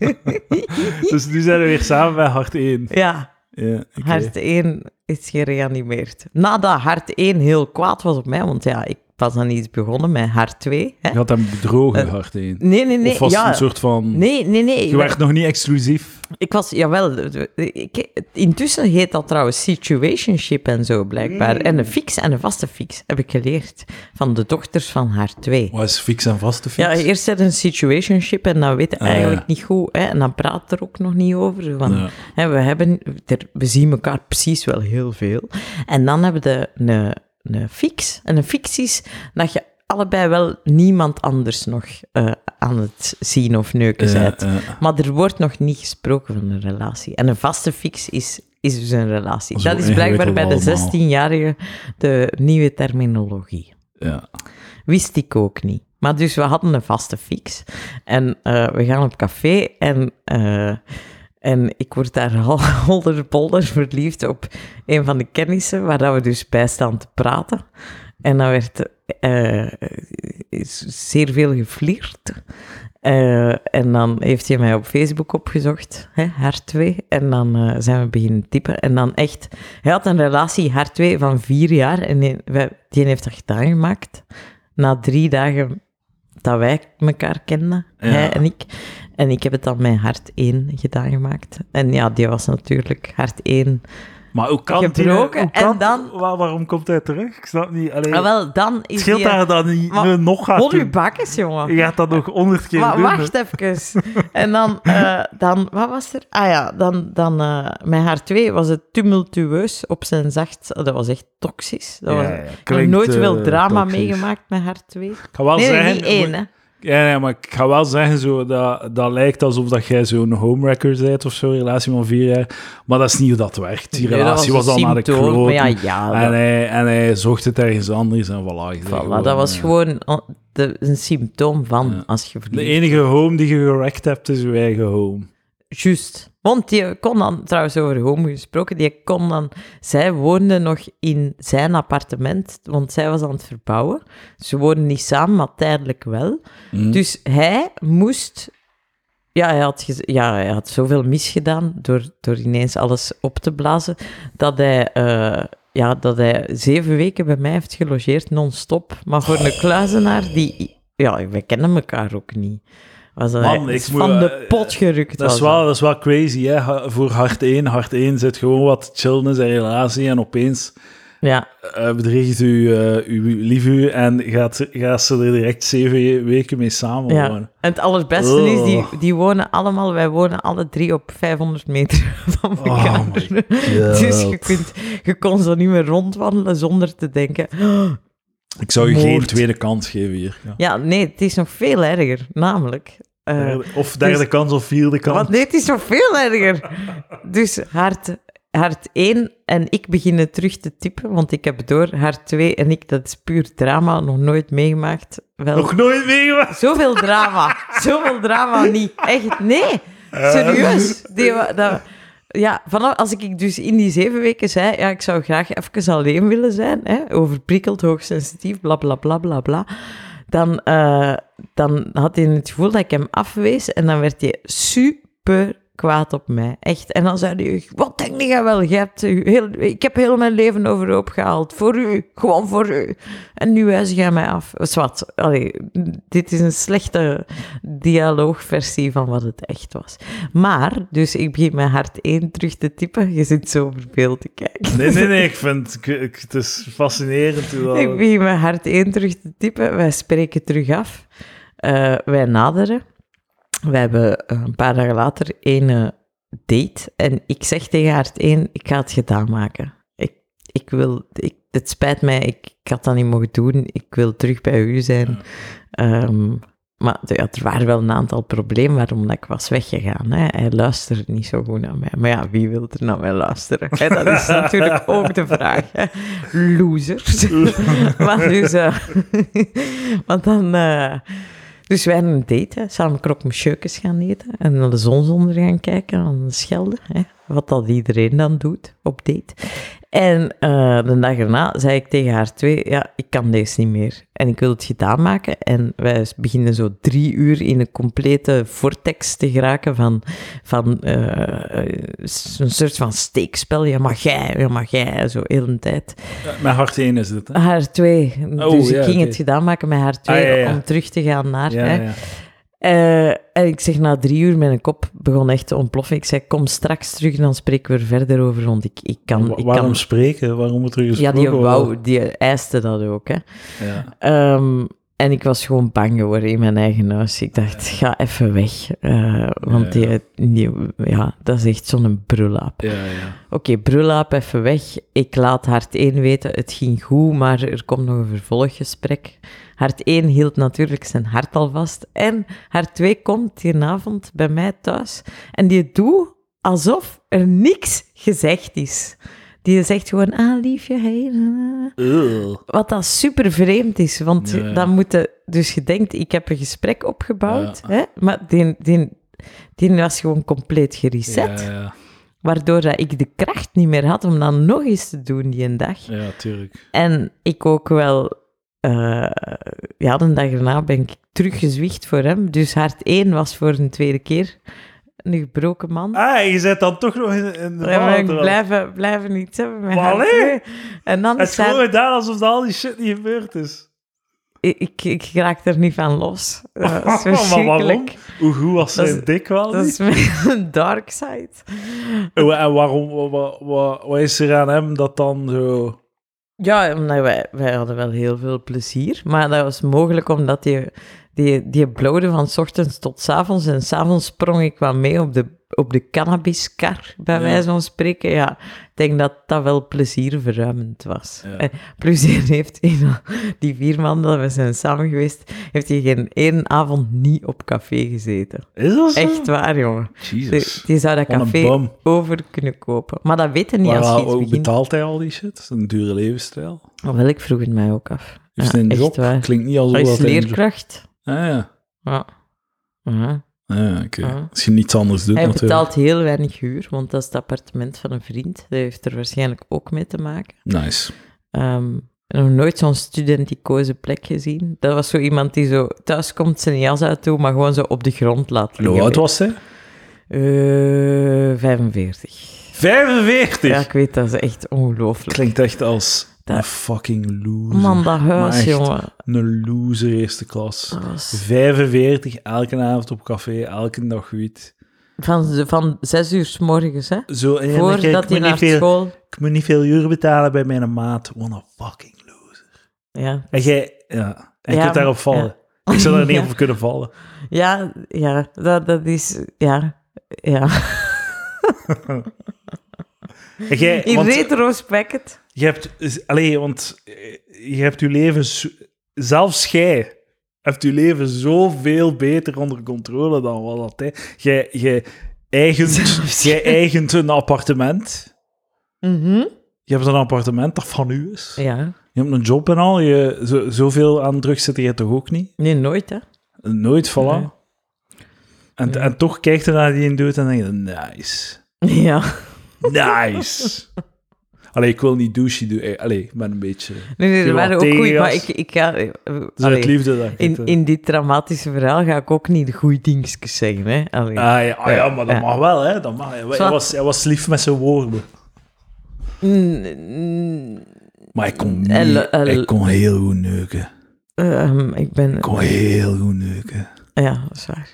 S1: dus nu zijn we weer samen bij hart 1.
S2: Ja,
S1: Ja, oké.
S2: hart 1 is gereanimeerd. Nadat hart 1 heel kwaad was op mij, want ja, ik was aan iets begonnen met hart 2. Hè?
S1: Je had hem bedrogen, hart 1.
S2: Nee, nee, nee.
S1: of was het
S2: ja.
S1: een soort van...
S2: Nee, nee, nee.
S1: Je werd nog niet exclusief.
S2: Ik was, jawel, ik, intussen heet dat trouwens situationship en zo blijkbaar. En een fix en een vaste fix heb ik geleerd van de dochters van haar twee.
S1: Wat is fix en vaste fix?
S2: Ja, eerst zet een situationship en dan weet je
S1: Ah, ja.
S2: eigenlijk niet goed. Hè, en dan praat er ook nog niet over. zo Van,
S1: Ja.
S2: hè, we, hebben, er- we zien elkaar precies wel heel veel. En dan hebben we een, een fix. En een fix is dat je allebei wel niemand anders nog eh, aan het zien of neuken
S1: Ja,
S2: bent.
S1: ja.
S2: Maar er wordt nog niet gesproken van een relatie. En een vaste fix is, is dus een relatie.
S1: Zo
S2: Dat is blijkbaar bij de
S1: ingewikkeld allemaal.
S2: 16-jarige de nieuwe terminologie.
S1: Ja.
S2: Wist ik ook niet. Maar dus we hadden een vaste fix. En eh, we gaan op café en, eh, en ik word daar al holderbolder verliefd op een van de kennissen, waar dat we dus bij staan te praten. En dan werd eh, is zeer veel geflirt. Eh, en dan heeft hij mij op Facebook opgezocht, hè, haar twee. En dan eh, zijn we beginnen typen. En dan echt, hij had een relatie, haar twee, van vier jaar. En die, wij- die heeft dat gedaan gemaakt. Na drie dagen dat wij elkaar kenden,
S1: Ja.
S2: hij en ik. En ik heb het dan met hart één gedaan gemaakt. En ja, die was natuurlijk hart één.
S1: Maar hoe kan die...
S2: Gebroken,
S1: hoe kan-
S2: en dan-
S1: Waar- waarom komt hij terug? Ik snap niet. Allee,
S2: Ah, wel, dan
S1: het
S2: is
S1: scheelt
S2: die...
S1: daar dan niet
S2: Maar-
S1: nu nog gaat
S2: Hol uw
S1: doen.
S2: bakjes, jongen.
S1: Je gaat dat nog honderd keer
S2: Maar
S1: doen. hè.
S2: wacht even. En dan, eh, dan, wat was er? Ah ja, dan, dan eh, met haar twee was het tumultueus op zijn zacht. Dat was echt toxisch. Dat
S1: Ja,
S2: was,
S1: ja,
S2: ik heb
S1: klinkt,
S2: nooit
S1: eh,
S2: veel drama
S1: toxisch.
S2: meegemaakt met haar twee.
S1: Ik ga wel
S2: Nee, nee,
S1: zeggen...
S2: niet één, hè.
S1: Ja, nee, maar ik ga wel zeggen, zo, dat, dat lijkt alsof dat jij zo'n homewrecker bent of zo, relatie van vier jaar. Maar dat is niet hoe dat werkt. Die
S2: Nee, dat
S1: relatie
S2: was
S1: was,
S2: een
S1: al naar de
S2: symptoom,
S1: kloot.
S2: maar ja, ja,
S1: en,
S2: dat-
S1: hij, en hij zocht het ergens anders en voilà. je bent
S2: Voilà,
S1: gewoon,
S2: dat was
S1: eh,
S2: gewoon eh, de, een symptoom van als je
S1: De
S2: verliefd
S1: enige home die je gerekt hebt, is je eigen home.
S2: Juist. Want die kon dan, trouwens over home gesproken, die kon dan... Zij woonde nog in zijn appartement, want zij was aan het verbouwen. Ze woonden niet samen, maar tijdelijk wel.
S1: Mm.
S2: Dus hij moest... Ja hij, had gez- ja, hij had zoveel misgedaan door, door ineens alles op te blazen, dat hij, eh, ja, dat hij zeven weken bij mij heeft gelogeerd, non-stop. Maar voor een kluizenaar die... Ja, we kennen elkaar ook niet. Was dat
S1: Man,
S2: hij
S1: ik moet,
S2: van de
S1: eh,
S2: pot gerukt
S1: Dat is,
S2: was.
S1: wel, dat is wel crazy, hè? Ha- Voor hart 1. Hart 1 zit gewoon wat chillen in zijn relatie en opeens
S2: Ja,
S1: eh, bedriegt u eh, uw lief u en gaat, gaat ze er direct zeven weken mee samen
S2: ja.
S1: wonen.
S2: En het allerbeste is,
S1: Oh.
S2: die, die wonen allemaal, wij wonen alle drie op 500 meter van elkaar.
S1: Oh my God.
S2: dus je, kunt, je kon zo niet meer rondwandelen zonder te denken.
S1: Ik zou je geen
S2: Moord.
S1: tweede kans geven hier. Ja.
S2: Ja, nee, het is nog veel erger, namelijk. eh,
S1: Derde- of derde
S2: dus-
S1: kans of vierde kans.
S2: want nee, het is nog veel erger. Dus hart, hart 1 en ik beginnen terug te typen, want ik heb door hart 2 en ik, dat is puur drama, nog nooit meegemaakt. Wel,
S1: Nog nooit meegemaakt.
S2: Zoveel drama. Zoveel drama niet. Echt, nee. Serieus. Die, wa- dat, ja, vanaf als ik dus in die zeven weken zei, ja, ik zou graag even alleen willen zijn, hè, overprikkeld, hoogsensitief, bla bla bla bla bla. Dan, eh, dan had hij het gevoel dat ik hem afwees en dan werd hij super kwaad op mij. Echt. En dan zei hij, wat denk jij wel? Je hebt eh, heel, ik heb heel mijn leven overhoop gehaald. Voor u. Gewoon voor u. En nu wijs jij mij af. Zwat. Allee, dit is een slechte dialoogversie van wat het echt was. Maar, dus ik begin mijn hart één terug te typen. Je zit zo verbeeld te kijken.
S1: Nee, nee, nee. Ik vind ik- ik- het is fascinerend. Hoe dat...
S2: Ik begin mijn hart één terug te typen. Wij spreken terug af. Eh, wij naderen. Wij hebben eh, een paar dagen later één eh, date. En ik zeg tegen hart één, ik ga het gedaan maken. Ik, ik wil... Ik, het spijt mij, ik, ik had dat niet mogen doen. Ik wil terug bij u zijn. Ehm, maar ja, er waren wel een aantal problemen waarom dat ik was weggegaan. Hè. Hij luisterde niet zo goed naar mij. Maar ja, wie wil er naar mij luisteren? Hè, dat is natuurlijk ook de vraag. Hè. Losers. maar dus, eh, want dan... eh, dus wij hadden een date, hè. samen krok met gaan eten en naar de zonsondergang kijken aan de Schelde. Hè. Wat dat iedereen dan doet op date. En eh, de dag erna zei ik tegen haar twee, ja, ik kan deze niet meer. En ik wil het gedaan maken. En wij beginnen zo drie uur in een complete vortex te geraken van, van eh, eh, een soort van steekspel. Ja, mag jij, ja, mag jij, zo heel een tijd.
S1: Mijn hart één is dit, hè?
S2: Haar twee.
S1: Oh,
S2: dus ik
S1: ja,
S2: ging
S1: oké.
S2: het gedaan maken met haar twee
S1: Ah, ja, ja.
S2: om terug te gaan naar.
S1: ja,
S2: hè.
S1: ja.
S2: Eh, en ik zeg na drie uur, mijn kop begon echt te ontploffen. Ik zei, kom straks terug en dan spreken we er verder over, want ik, ik kan...
S1: Wa-
S2: Ik
S1: waarom
S2: kan
S1: spreken? Waarom moet er
S2: ja,
S1: gesproken
S2: die
S1: worden?
S2: wou, die eiste dat ook, hè.
S1: Ja.
S2: Ehm, en ik was gewoon bang geworden in mijn eigen huis. Ik dacht, ga even weg. eh, want
S1: Ja, ja.
S2: Die, die- ja, dat is echt zo'n brullaap.
S1: Ja, ja.
S2: Oké, brullaap, even weg. Ik laat Hart 1 weten, het ging goed, maar er komt nog een vervolggesprek. Hart 1 hield natuurlijk zijn hart al vast. En Hart 2 komt hieravond bij mij thuis. En die doet alsof er niks gezegd is. Die zegt gewoon, ah liefje, hey. na, na, na." Wat dat super vreemd is, want
S1: Ja, ja.
S2: dan moet je... Dus je denkt, ik heb een gesprek opgebouwd,
S1: Ja.
S2: hè? maar die, die, die was gewoon compleet gereset.
S1: Ja, ja.
S2: Waardoor dat ik de kracht niet meer had om dat nog eens te doen die een dag.
S1: ja, tuurlijk.
S2: En ik ook wel... eh, ja, de dag daarna ben ik teruggezwicht voor hem. Dus hart 1 was voor een tweede keer een gebroken man.
S1: Ah, je zit dan toch nog in, in de
S2: Ja, maar
S1: bal
S2: ik
S1: terwijl-
S2: blijven, blijven niet hebben met
S1: Maar
S2: hart
S1: allee!
S2: twee. En dan
S1: Het is
S2: is
S1: gewoon
S2: haar-
S1: gedaan alsof al die shit niet gebeurd is.
S2: ik, ik, ik raak er niet van los. Dat is
S1: Maar waarom?
S2: verschrikkelijk.
S1: Hoe goed was
S2: Dat is-
S1: zijn dik wel
S2: Dat
S1: niet?
S2: is mijn dark side.
S1: En wa- en waarom, wa- wa- wa- wat is er aan hem dat dan zo...
S2: Ja, omdat wij, wij hadden wel heel veel plezier. Maar dat was mogelijk omdat die, die, die blauwde van 's ochtends tot 's avonds. En 's avonds sprong ik wel mee op de, op de cannabiskar, bij
S1: Ja.
S2: wijze van spreken. Ja, ik denk dat dat wel plezierverruimend was.
S1: Ja.
S2: Eh, Plus, hij heeft in al die vier maanden dat we zijn samen geweest, heeft hij geen één avond niet op café gezeten.
S1: Is dat zo?
S2: Echt waar, jongen. Die,
S1: Jezus.
S2: die zou dat
S1: Wat een
S2: café
S1: bum.
S2: over kunnen kopen. Maar dat weten niet
S1: Maar
S2: als je
S1: waar-
S2: iets
S1: hoe
S2: begint.
S1: betaalt hij al die shit? Dat is een dure levensstijl.
S2: Oh, wel, ik vroeg het mij ook af.
S1: Heeft
S2: Ja,
S1: hij een
S2: echt
S1: job?
S2: waar.
S1: Klinkt niet alsof
S2: Hij is
S1: dat hij een job-
S2: leerkracht.
S1: Ah, ja.
S2: Ja. Ja.
S1: Ah, oké.
S2: Ah.
S1: Als je niets anders doet
S2: Hij
S1: natuurlijk.
S2: betaalt heel weinig huur, want dat is het appartement van een vriend. Dat heeft er waarschijnlijk ook mee te maken.
S1: Nice.
S2: Ehm, nog nooit zo'n studenticoze plek gezien. Dat was zo iemand die zo thuis komt, zijn jas uit toe, maar gewoon zo op de grond laat
S1: En hoe
S2: liggen.
S1: oud was hij?
S2: Eh, 45.
S1: 45!
S2: Ja, ik weet, dat is echt ongelooflijk.
S1: Klinkt echt als
S2: Dat-
S1: een fucking loser.
S2: Man, dat huis,
S1: echt.
S2: jongen.
S1: Een loser eerste klas.
S2: Dat was-
S1: 45, elke avond op café, elke dag wiet.
S2: Van, van zes uur s morgens, hè.
S1: Zo, en dan denk ik,
S2: Voordat hij
S1: ik, moet
S2: naar
S1: niet veel,
S2: school...
S1: ik moet niet veel uur betalen bij mijn maat. What a fucking loser.
S2: Ja,
S1: En jij, ja, en je
S2: Ja,
S1: kunt daarop vallen. Ik zou daar niet op kunnen vallen.
S2: Ja, ja, dat, dat is... Ja, ja.
S1: En jij,
S2: In
S1: Eh, want
S2: retrospect.
S1: je hebt, is- allee, want eh, je hebt je leven, zo- zelfs jij, hebt je leven zoveel beter onder controle dan wat dat hij. Jij, jij, eigent,
S2: Zelfs
S1: jij eigent een appartement.
S2: Mhm.
S1: Je hebt een appartement dat van u is.
S2: Ja.
S1: Je hebt een job en al. Je, zo, zoveel aan drugs zit je toch ook niet?
S2: Nee, nooit, hè.
S1: Nooit, voilà.
S2: Nee.
S1: En,
S2: Nee.
S1: en toch kijkt je naar die een doet en denk je, nice.
S2: Ja.
S1: Nice. Allee, ik wil niet douche doen. Allee, ik ben een beetje...
S2: Nee, nee,
S1: Je
S2: er waren
S1: wel
S2: ook goed, maar ik,
S1: tegengas.
S2: ik ga... eh,
S1: Dus uit
S2: allee,
S1: liefde dat ik
S2: in,
S1: het, eh,
S2: in dit dramatische verhaal ga ik ook niet de goede dingetjes zeggen, hè. Allee.
S1: Ah ja, ah, ja, maar dat
S2: Ja.
S1: mag wel, hè. Dat mag. Hij, hij
S2: Zwaar.
S1: was, hij was lief met zijn woorden.
S2: Mm, mm,
S1: Maar ik kon, niet,
S2: Hij lo- hij lo-
S1: ik kon heel goed neuken. Ik
S2: ehm, ik ben... ah
S1: kon heel goed neuken.
S2: Ja, dat is waar.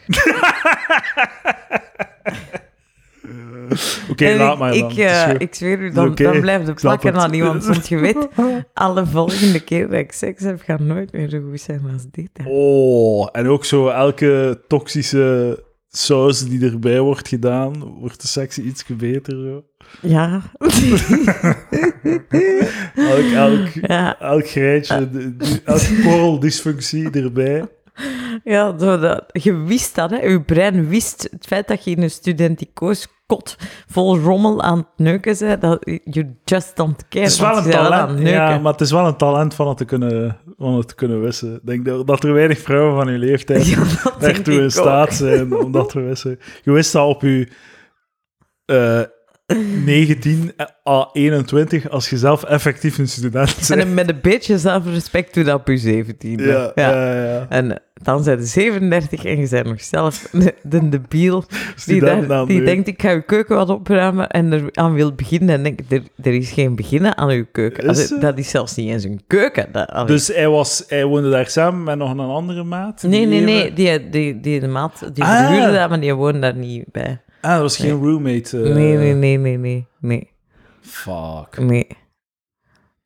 S1: Oké,
S2: En
S1: laat
S2: ik,
S1: maar dan.
S2: Ik,
S1: Het is
S2: eh,
S1: goed.
S2: ik zweer u, dan,
S1: oké.
S2: dan blijft het
S1: snap
S2: plakken
S1: het.
S2: aan iemand. Want je weet, alle volgende keer dat ik seks heb, gaat nooit meer zo goed zijn als dit. hè.
S1: Oh, en ook zo elke toxische saus die erbij wordt gedaan, wordt de seks iets beter. Zo.
S2: Ja.
S1: Elk, elk,
S2: ja.
S1: elk greintje, de- die- elke korreldysfunctie erbij.
S2: Ja, zo dat, je wist dat, hè. Je brein wist het feit dat je in een studenticoos kot vol rommel aan het neuken bent, dat you just don't care.
S1: Het is wel
S2: want
S1: een
S2: je bent aan het
S1: talent,
S2: neuken.
S1: ja, maar het is wel een talent van het te kunnen, van het te kunnen wissen. Ik denk dat, dat er weinig vrouwen van uw leeftijd
S2: Ja, dat denk
S1: echt toe
S2: ik
S1: in
S2: ook.
S1: staat zijn om dat te wissen. Je wist dat op je eh, 19 à 21 als je zelf effectief een student bent.
S2: En met een beetje zelfrespect doe dat op je 17.
S1: Ja, ja, ja.
S2: En dan zijn ze 37 en je bent nog zelf de, de debiel die,
S1: Student
S2: daar-
S1: aan
S2: die
S1: de-
S2: denkt ik ga uw keuken wat opruimen en er aan wil beginnen. En denk ik, er, er is geen beginnen aan uw keuken.
S1: Is
S2: Allee,
S1: ze?
S2: dat is zelfs niet eens een keuken. Dat, allee.
S1: Dus hij, was, hij woonde daar samen met nog een andere maat?
S2: nee,
S1: Die
S2: nee,
S1: even-
S2: nee. Die, die, die de maat, die
S1: Ah.
S2: verhuurde dat, maar die woonde daar niet bij.
S1: Ah, dat was geen roommate. eh.
S2: Nee, nee, nee, nee, nee, nee,
S1: Fuck.
S2: nee.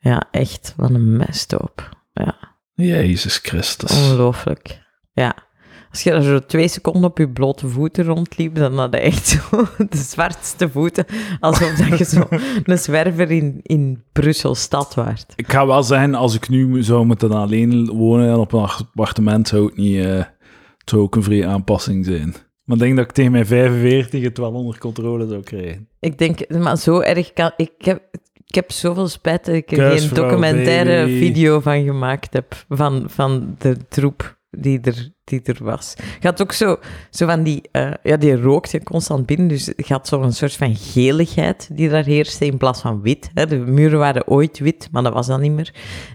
S2: Ja, echt, wat een mesthoop. Ja.
S1: Jezus
S2: Oh.
S1: Christus.
S2: Ongelooflijk. Ja. Als je daar zo twee seconden op je blote voeten rondliep, dan had je echt zo de zwartste voeten. Alsof dat je zo een zwerver in, in Brussel stad waart.
S1: Ik ga wel zeggen, als ik nu mo- zou moeten alleen wonen en op een appartement, zou het niet... eh, het zou ook een vrije aanpassing zijn. Maar ik denk dat ik tegen mijn 45 het wel onder controle zou krijgen.
S2: Ik denk, maar zo erg kan... Ik heb, ik heb zoveel spijt dat ik er geen
S1: Kuisvrouw,
S2: documentaire
S1: baby.
S2: video van gemaakt heb. Van, van de troep die er, die er was. Je had ook zo, zo van die... eh, ja, die rookte constant binnen, dus je had zo'n soort van geligheid die daar heerste in plaats van wit. Hè. De muren waren ooit wit, maar dat was dan niet meer.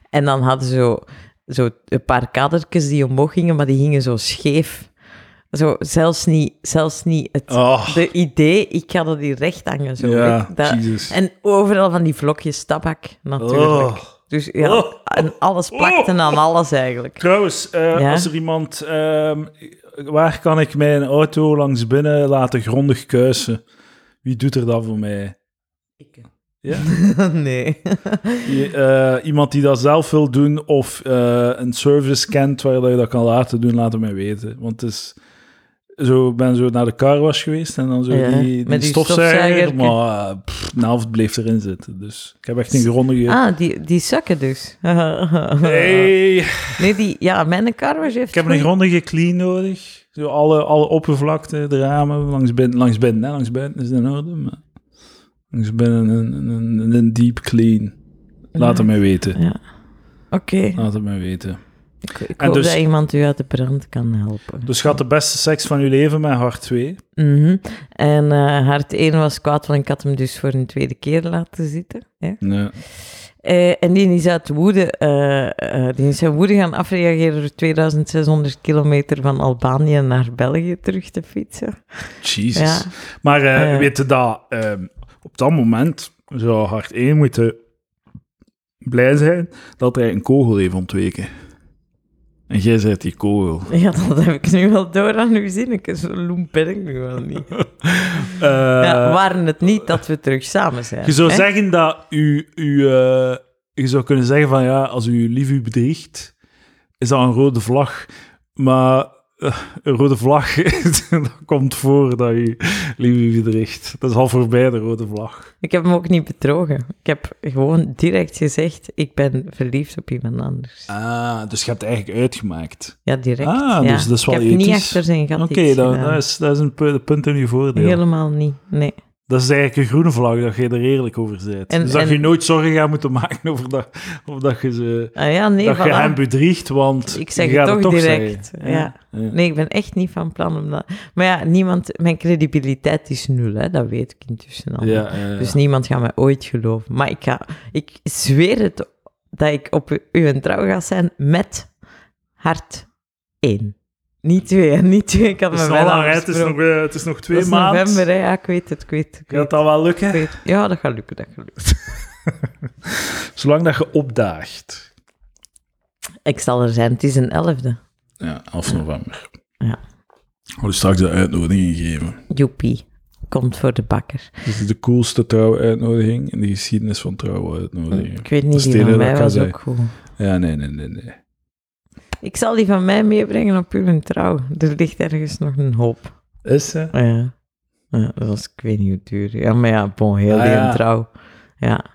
S2: En dan hadden ze zo, zo een paar kadertjes die omhoog gingen, maar die gingen zo scheef. Zo, zelfs niet, zelfs niet het...
S1: Oh,
S2: De idee, ik ga dat hier recht hangen. Zo.
S1: ja,
S2: Ik- dat-
S1: Jesus.
S2: en overal van die vlokjes tabak, natuurlijk.
S1: Oh.
S2: Dus ja,
S1: Oh.
S2: en alles plakt en aan alles eigenlijk.
S1: Trouwens, eh,
S2: Ja?
S1: als er iemand... ehm, waar kan ik mijn auto langs binnen laten grondig kuisen? Wie doet er dat voor mij? Ja?
S2: nee.
S1: Je- eh, iemand die dat zelf wil doen of eh, een service kent waar dat je dat kan laten doen, laat het mij weten. Want het is... Zo, ik ben zo naar de car was geweest en dan zo
S2: Ja,
S1: die, die,
S2: met die
S1: stofzuiger,
S2: stofzuiger.
S1: maar eh, pff, een helft bleef erin zitten. Dus ik heb echt een grondige...
S2: Ah, die, die zakken dus.
S1: Hey,
S2: Nee, die, ja, mijn kar was even...
S1: ik heb een grondige clean nodig. Zo alle, alle oppervlakte, de ramen, langs binnen, langs binnen, hè. langs buiten is het in orde, maar langs binnen een, een, een, een deep clean. Laat het mij weten,
S2: Ja. Oké.
S1: laat het mij weten.
S2: Ik,
S1: Ah.
S2: ik
S1: En
S2: hoop
S1: dus-
S2: dat iemand u uit de brand kan helpen.
S1: Dus gaat de beste seks van je leven met hart 2.
S2: Mhm. En eh hart 1 was kwaad, want ik had hem dus voor een tweede keer laten zitten. Ja.
S1: Nee.
S2: Eh, en die is uit woede, eh, eh, die is uit woede gaan afreageren door 2600 kilometer van Albanië naar België terug te fietsen.
S1: Jezus.
S2: Ja.
S1: Maar eh
S2: Ja.
S1: weet je dat ehm, op dat moment zou hart 1 moeten blij zijn dat hij een kogel heeft ontweken. En jij bent die kogel.
S2: Ja, dat heb ik nu wel door aan uw zinnetjes. Zo loem ben ik nu wel niet.
S1: Eh,
S2: ja, waren het niet dat we terug samen zijn.
S1: Je zou
S2: hè?
S1: zeggen dat u, u eh, je zou kunnen zeggen van ja, als u lief u bedriegt, is dat een rode vlag. Maar eh, een rode vlag dat komt voor dat u lief u bedriegt. Dat is al voorbij de rode vlag.
S2: Ik heb hem ook niet betrogen. Ik heb gewoon direct gezegd, ik ben verliefd op iemand anders.
S1: Ah, dus je hebt het eigenlijk uitgemaakt.
S2: Ja, direct.
S1: Ah,
S2: ja.
S1: dus dat is wel
S2: Ik heb niet
S1: ethisch.
S2: achter zijn gat
S1: Oké,
S2: iets
S1: dat,
S2: gedaan.
S1: dat is, dat is een pu- een punt in uw voordeel.
S2: Helemaal niet, nee.
S1: Dat is eigenlijk een groene vlag, dat je er eerlijk over bent.
S2: En-
S1: dus dat
S2: en-
S1: je nooit zorgen gaat moeten maken over dat, of dat je ze...
S2: Ah ja, nee,
S1: dat je
S2: voilà.
S1: hem bedriegt, want
S2: Ik zeg
S1: je
S2: het
S1: gaat
S2: toch
S1: zeggen.
S2: direct, ja. Nee, ik ben echt niet van plan om dat... Maar ja, niemand... Mijn credibiliteit is nul, hè. Dat weet ik intussen al.
S1: Ja, ja, ja.
S2: Dus niemand gaat mij ooit geloven. Maar ik ga... Ik zweer het dat ik op u u een trouw ga zijn met hart één. Niet twee, hè. Niet twee. Ik had
S1: Het is
S2: me
S1: nog
S2: wel
S1: lang, hè. het, is nog,
S2: afgesproken.
S1: eh, het is nog twee
S2: Dat is
S1: maanden.
S2: november, hè. Ja, ik weet het, ik weet het. Ik
S1: Gaat
S2: weet,
S1: dat wel
S2: het, ik
S1: lukken?
S2: weet het. Ja, dat gaat lukken, dat gaat lukken.
S1: Zolang dat je opdaagt.
S2: Ik zal er zijn. Het is een elfde.
S1: Ja, 11 november.
S2: Ja.
S1: Ik wil straks de uitnodiging geven.
S2: Joepie. Komt voor de bakker.
S1: Dit is de coolste trouwuitnodiging in de geschiedenis van trouwuitnodigingen.
S2: Ik weet
S1: Dat
S2: niet,
S1: is
S2: die
S1: het
S2: van
S1: enige dat
S2: mij
S1: ik
S2: was
S1: kan
S2: ook goed.
S1: Ja, nee, nee, nee, nee.
S2: Ik zal die van mij meebrengen op uw trouw. Er ligt ergens nog een hoop. Ah
S1: Is ze?
S2: Ja. ja dat was, ik weet niet hoe duur. Ja, maar ja, bon, heel
S1: Ah,
S2: die
S1: ja.
S2: trouw. Ja.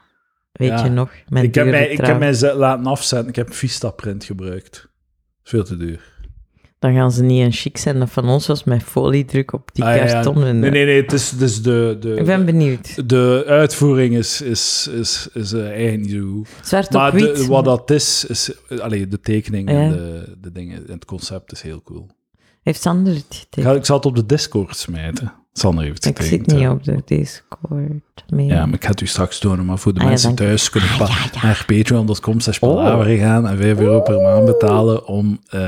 S2: Weet
S1: Ja.
S2: je nog? Mijn
S1: Ik heb,
S2: dure
S1: mij, ik
S2: trouw.
S1: heb mij ze- laten afzetten. Ik heb Vista-print gebruikt. Veel te duur.
S2: Dan gaan ze niet een chic zijn. Dat van ons was met foliedruk op die
S1: Ah, ja, ja.
S2: karton. En,
S1: Nee, nee, nee. Het is, het is de... de
S2: Ik ben benieuwd.
S1: de uitvoering is, is, is, is eh, eigenlijk niet zo goed.
S2: Zwart
S1: Maar
S2: op
S1: de-
S2: wit.
S1: wat dat is, is eh, allee, de tekening en
S2: Ja.
S1: de, de dingen, en het concept is heel cool.
S2: Heeft Sander het
S1: Ik,
S2: getekend?
S1: ga, ik zal het op de Discord smijten. Sander heeft
S2: Ik
S1: getekend.
S2: zit niet
S1: hè.
S2: op de Discord meer.
S1: Ja, maar ik ga het u straks tonen. Maar voor de
S2: Ah, ja,
S1: mensen
S2: dank je.
S1: thuis kunnen pa-
S2: ja, Oh. ja.
S1: naar patreon.com slash palaver gaan en 5 euro per
S2: Oh.
S1: maand betalen om eh,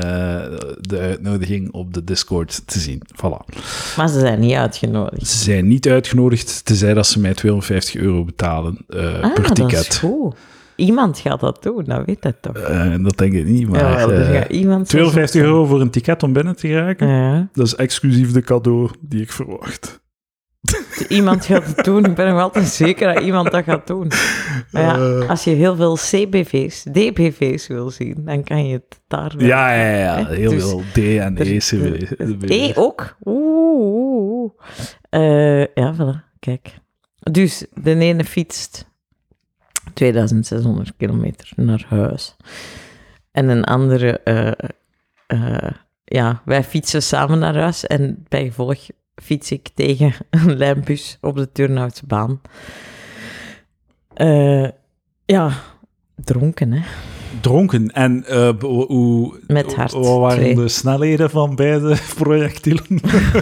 S1: de uitnodiging op de Discord te zien. Voilà.
S2: Maar ze zijn niet uitgenodigd.
S1: Ze zijn niet uitgenodigd, tenzij dat ze mij 250 euro betalen eh,
S2: Ah,
S1: per
S2: dat is
S1: ticket.
S2: goed. Iemand gaat dat doen, dat weet het toch.
S1: Eh, dat denk ik niet, maar...
S2: Jawel, er
S1: eh,
S2: gaat iemand... zo-
S1: 52 euro voor een ticket om binnen te geraken.
S2: Ja.
S1: Dat is exclusief de cadeau die ik verwacht.
S2: Iemand gaat het doen. Ik ben nog altijd zeker dat iemand dat gaat doen. Maar ja,
S1: Eh.
S2: als je heel veel CBV's, DBV's wil zien, dan kan je het daar wel.
S1: Ja, ja, ja. ja.
S2: Hè?
S1: Heel
S2: Dus
S1: veel D en
S2: er-
S1: E.
S2: er- Hé, ook? Oeh, oeh, oeh. Eh, ja, voilà. Kijk. Dus, de ene fietst 2600 kilometer naar huis. En een andere... eh, eh, ja, wij fietsen samen naar huis. En bij gevolg fiets ik tegen een lijnbus op de Turnhoutse baan. Eh, ja, dronken, hè.
S1: Dronken. En eh, b- hoe...
S2: Met hart,
S1: Wat waren
S2: twee.
S1: de snelheden van beide projectielen?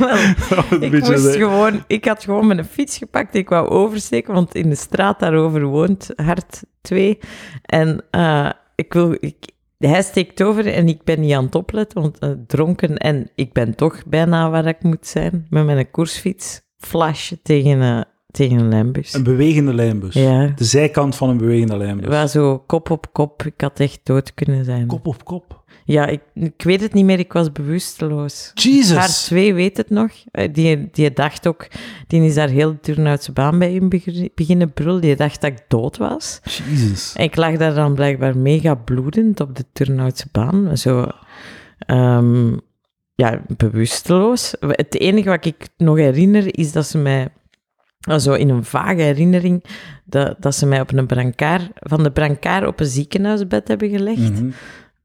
S1: Dat we een
S2: Ik,
S1: beetje
S2: moest
S1: de-
S2: gewoon, ik had gewoon mijn fiets gepakt. Ik wou oversteken, want in de straat daarover woont Hart 2. En eh, ik wil, ik, hij steekt over en ik ben niet aan het opletten, want eh, dronken. En ik ben toch bijna waar ik moet zijn met mijn koersfiets. Flash tegen, eh, tegen een lembus.
S1: Een bewegende lijnbus.
S2: Ja,
S1: De zijkant van een bewegende lijnbus.
S2: waar zo kop op kop. Ik had echt dood kunnen zijn.
S1: Kop op kop.
S2: Ja, ik, ik weet het niet meer. Ik was bewusteloos. Haar
S1: Jesus.
S2: twee weet het nog. Eh, Die, die dacht ook, die is daar heel Turnhoutse baan bij in begin- beginnen brullen. Die dacht dat ik dood was.
S1: Jesus.
S2: En ik lag daar dan blijkbaar mega bloedend op de Turnhoutse baan. Zo, ehm, ja, bewusteloos. Het enige wat ik nog herinner is dat ze mij, ah, zo in een vage herinnering, dat, dat ze mij op een brancard, van de brancard op een ziekenhuisbed hebben gelegd.
S1: Mhm.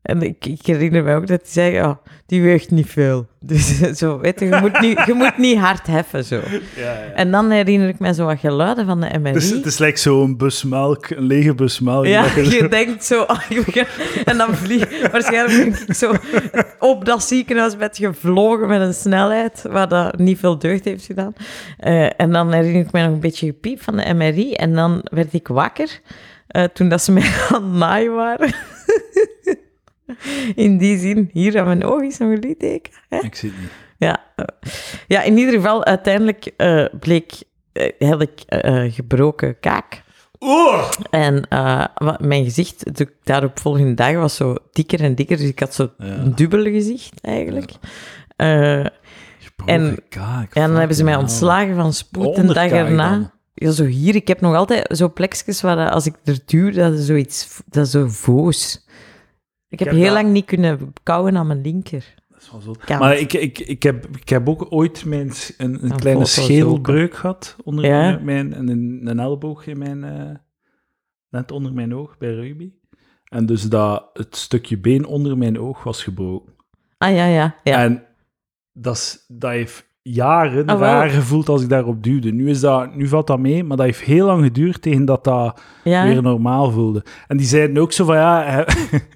S2: En ik, ik herinner me ook dat hij zei, ja, die weegt niet veel. Dus zo, weet je, je moet niet, je moet niet hard heffen, zo.
S1: Ja, ja.
S2: En dan herinner ik me zo wat geluiden van de MRI.
S1: Dus het is like zo'n bus melk, een lege bus melk.
S2: ja,
S1: dat je-
S2: je denkt zo, ah, ik begin- en dan vlieg waarschijnlijk ben ik zo op dat ziekenhuisbed gevlogen met een snelheid, waar dat niet veel deugd heeft gedaan. Eh, en dan herinner ik me nog een beetje gepiep van de MRI, en dan werd ik wakker eh, toen dat ze mij aan het naaien waren. In die zin, hier aan mijn oog is nog een litteken. Hè?
S1: Ik zie het niet.
S2: Ja, eh, ja in ieder geval, uiteindelijk eh, bleek, eh, had ik eh, eh, gebroken kaak.
S1: Oh!
S2: En eh, wa- mijn gezicht, de daarop volgende dag, was zo dikker en dikker. Dus ik had zo
S1: Ja.
S2: een dubbele gezicht eigenlijk. Eh,
S1: Gebroken kaak,
S2: ja, en dan hebben ze mij
S1: fucking hell.
S2: ontslagen van spoed een dag
S1: Onderkaak
S2: erna.
S1: dan.
S2: Ja, zo hier, ik heb nog altijd zo plekjes waar dat als ik er duw, dat is zoiets, dat is zo voos. Ik heb
S1: heb
S2: heel
S1: dat-
S2: lang niet kunnen kauwen aan mijn linker.
S1: Van zot.
S2: Kant.
S1: Maar ik, ik, ik, heb, ik heb ook ooit mijn, s- een, een
S2: Een
S1: kleine
S2: foto
S1: schedelbreuk gehad. Onder
S2: Ja?
S1: onder mijn, en een, een elleboog in mijn, eh, net onder mijn oog bij rugby. En dus dat het stukje been onder mijn oog was gebroken.
S2: Ah ja, ja, ja.
S1: En dat, is, dat heeft jaren
S2: Ah, wel.
S1: raar gevoeld als ik daarop duwde. Nu, is dat, nu valt dat mee, maar dat heeft heel lang geduurd tegen dat dat
S2: ja.
S1: weer normaal voelde. En die zeiden ook zo van, ja, hè,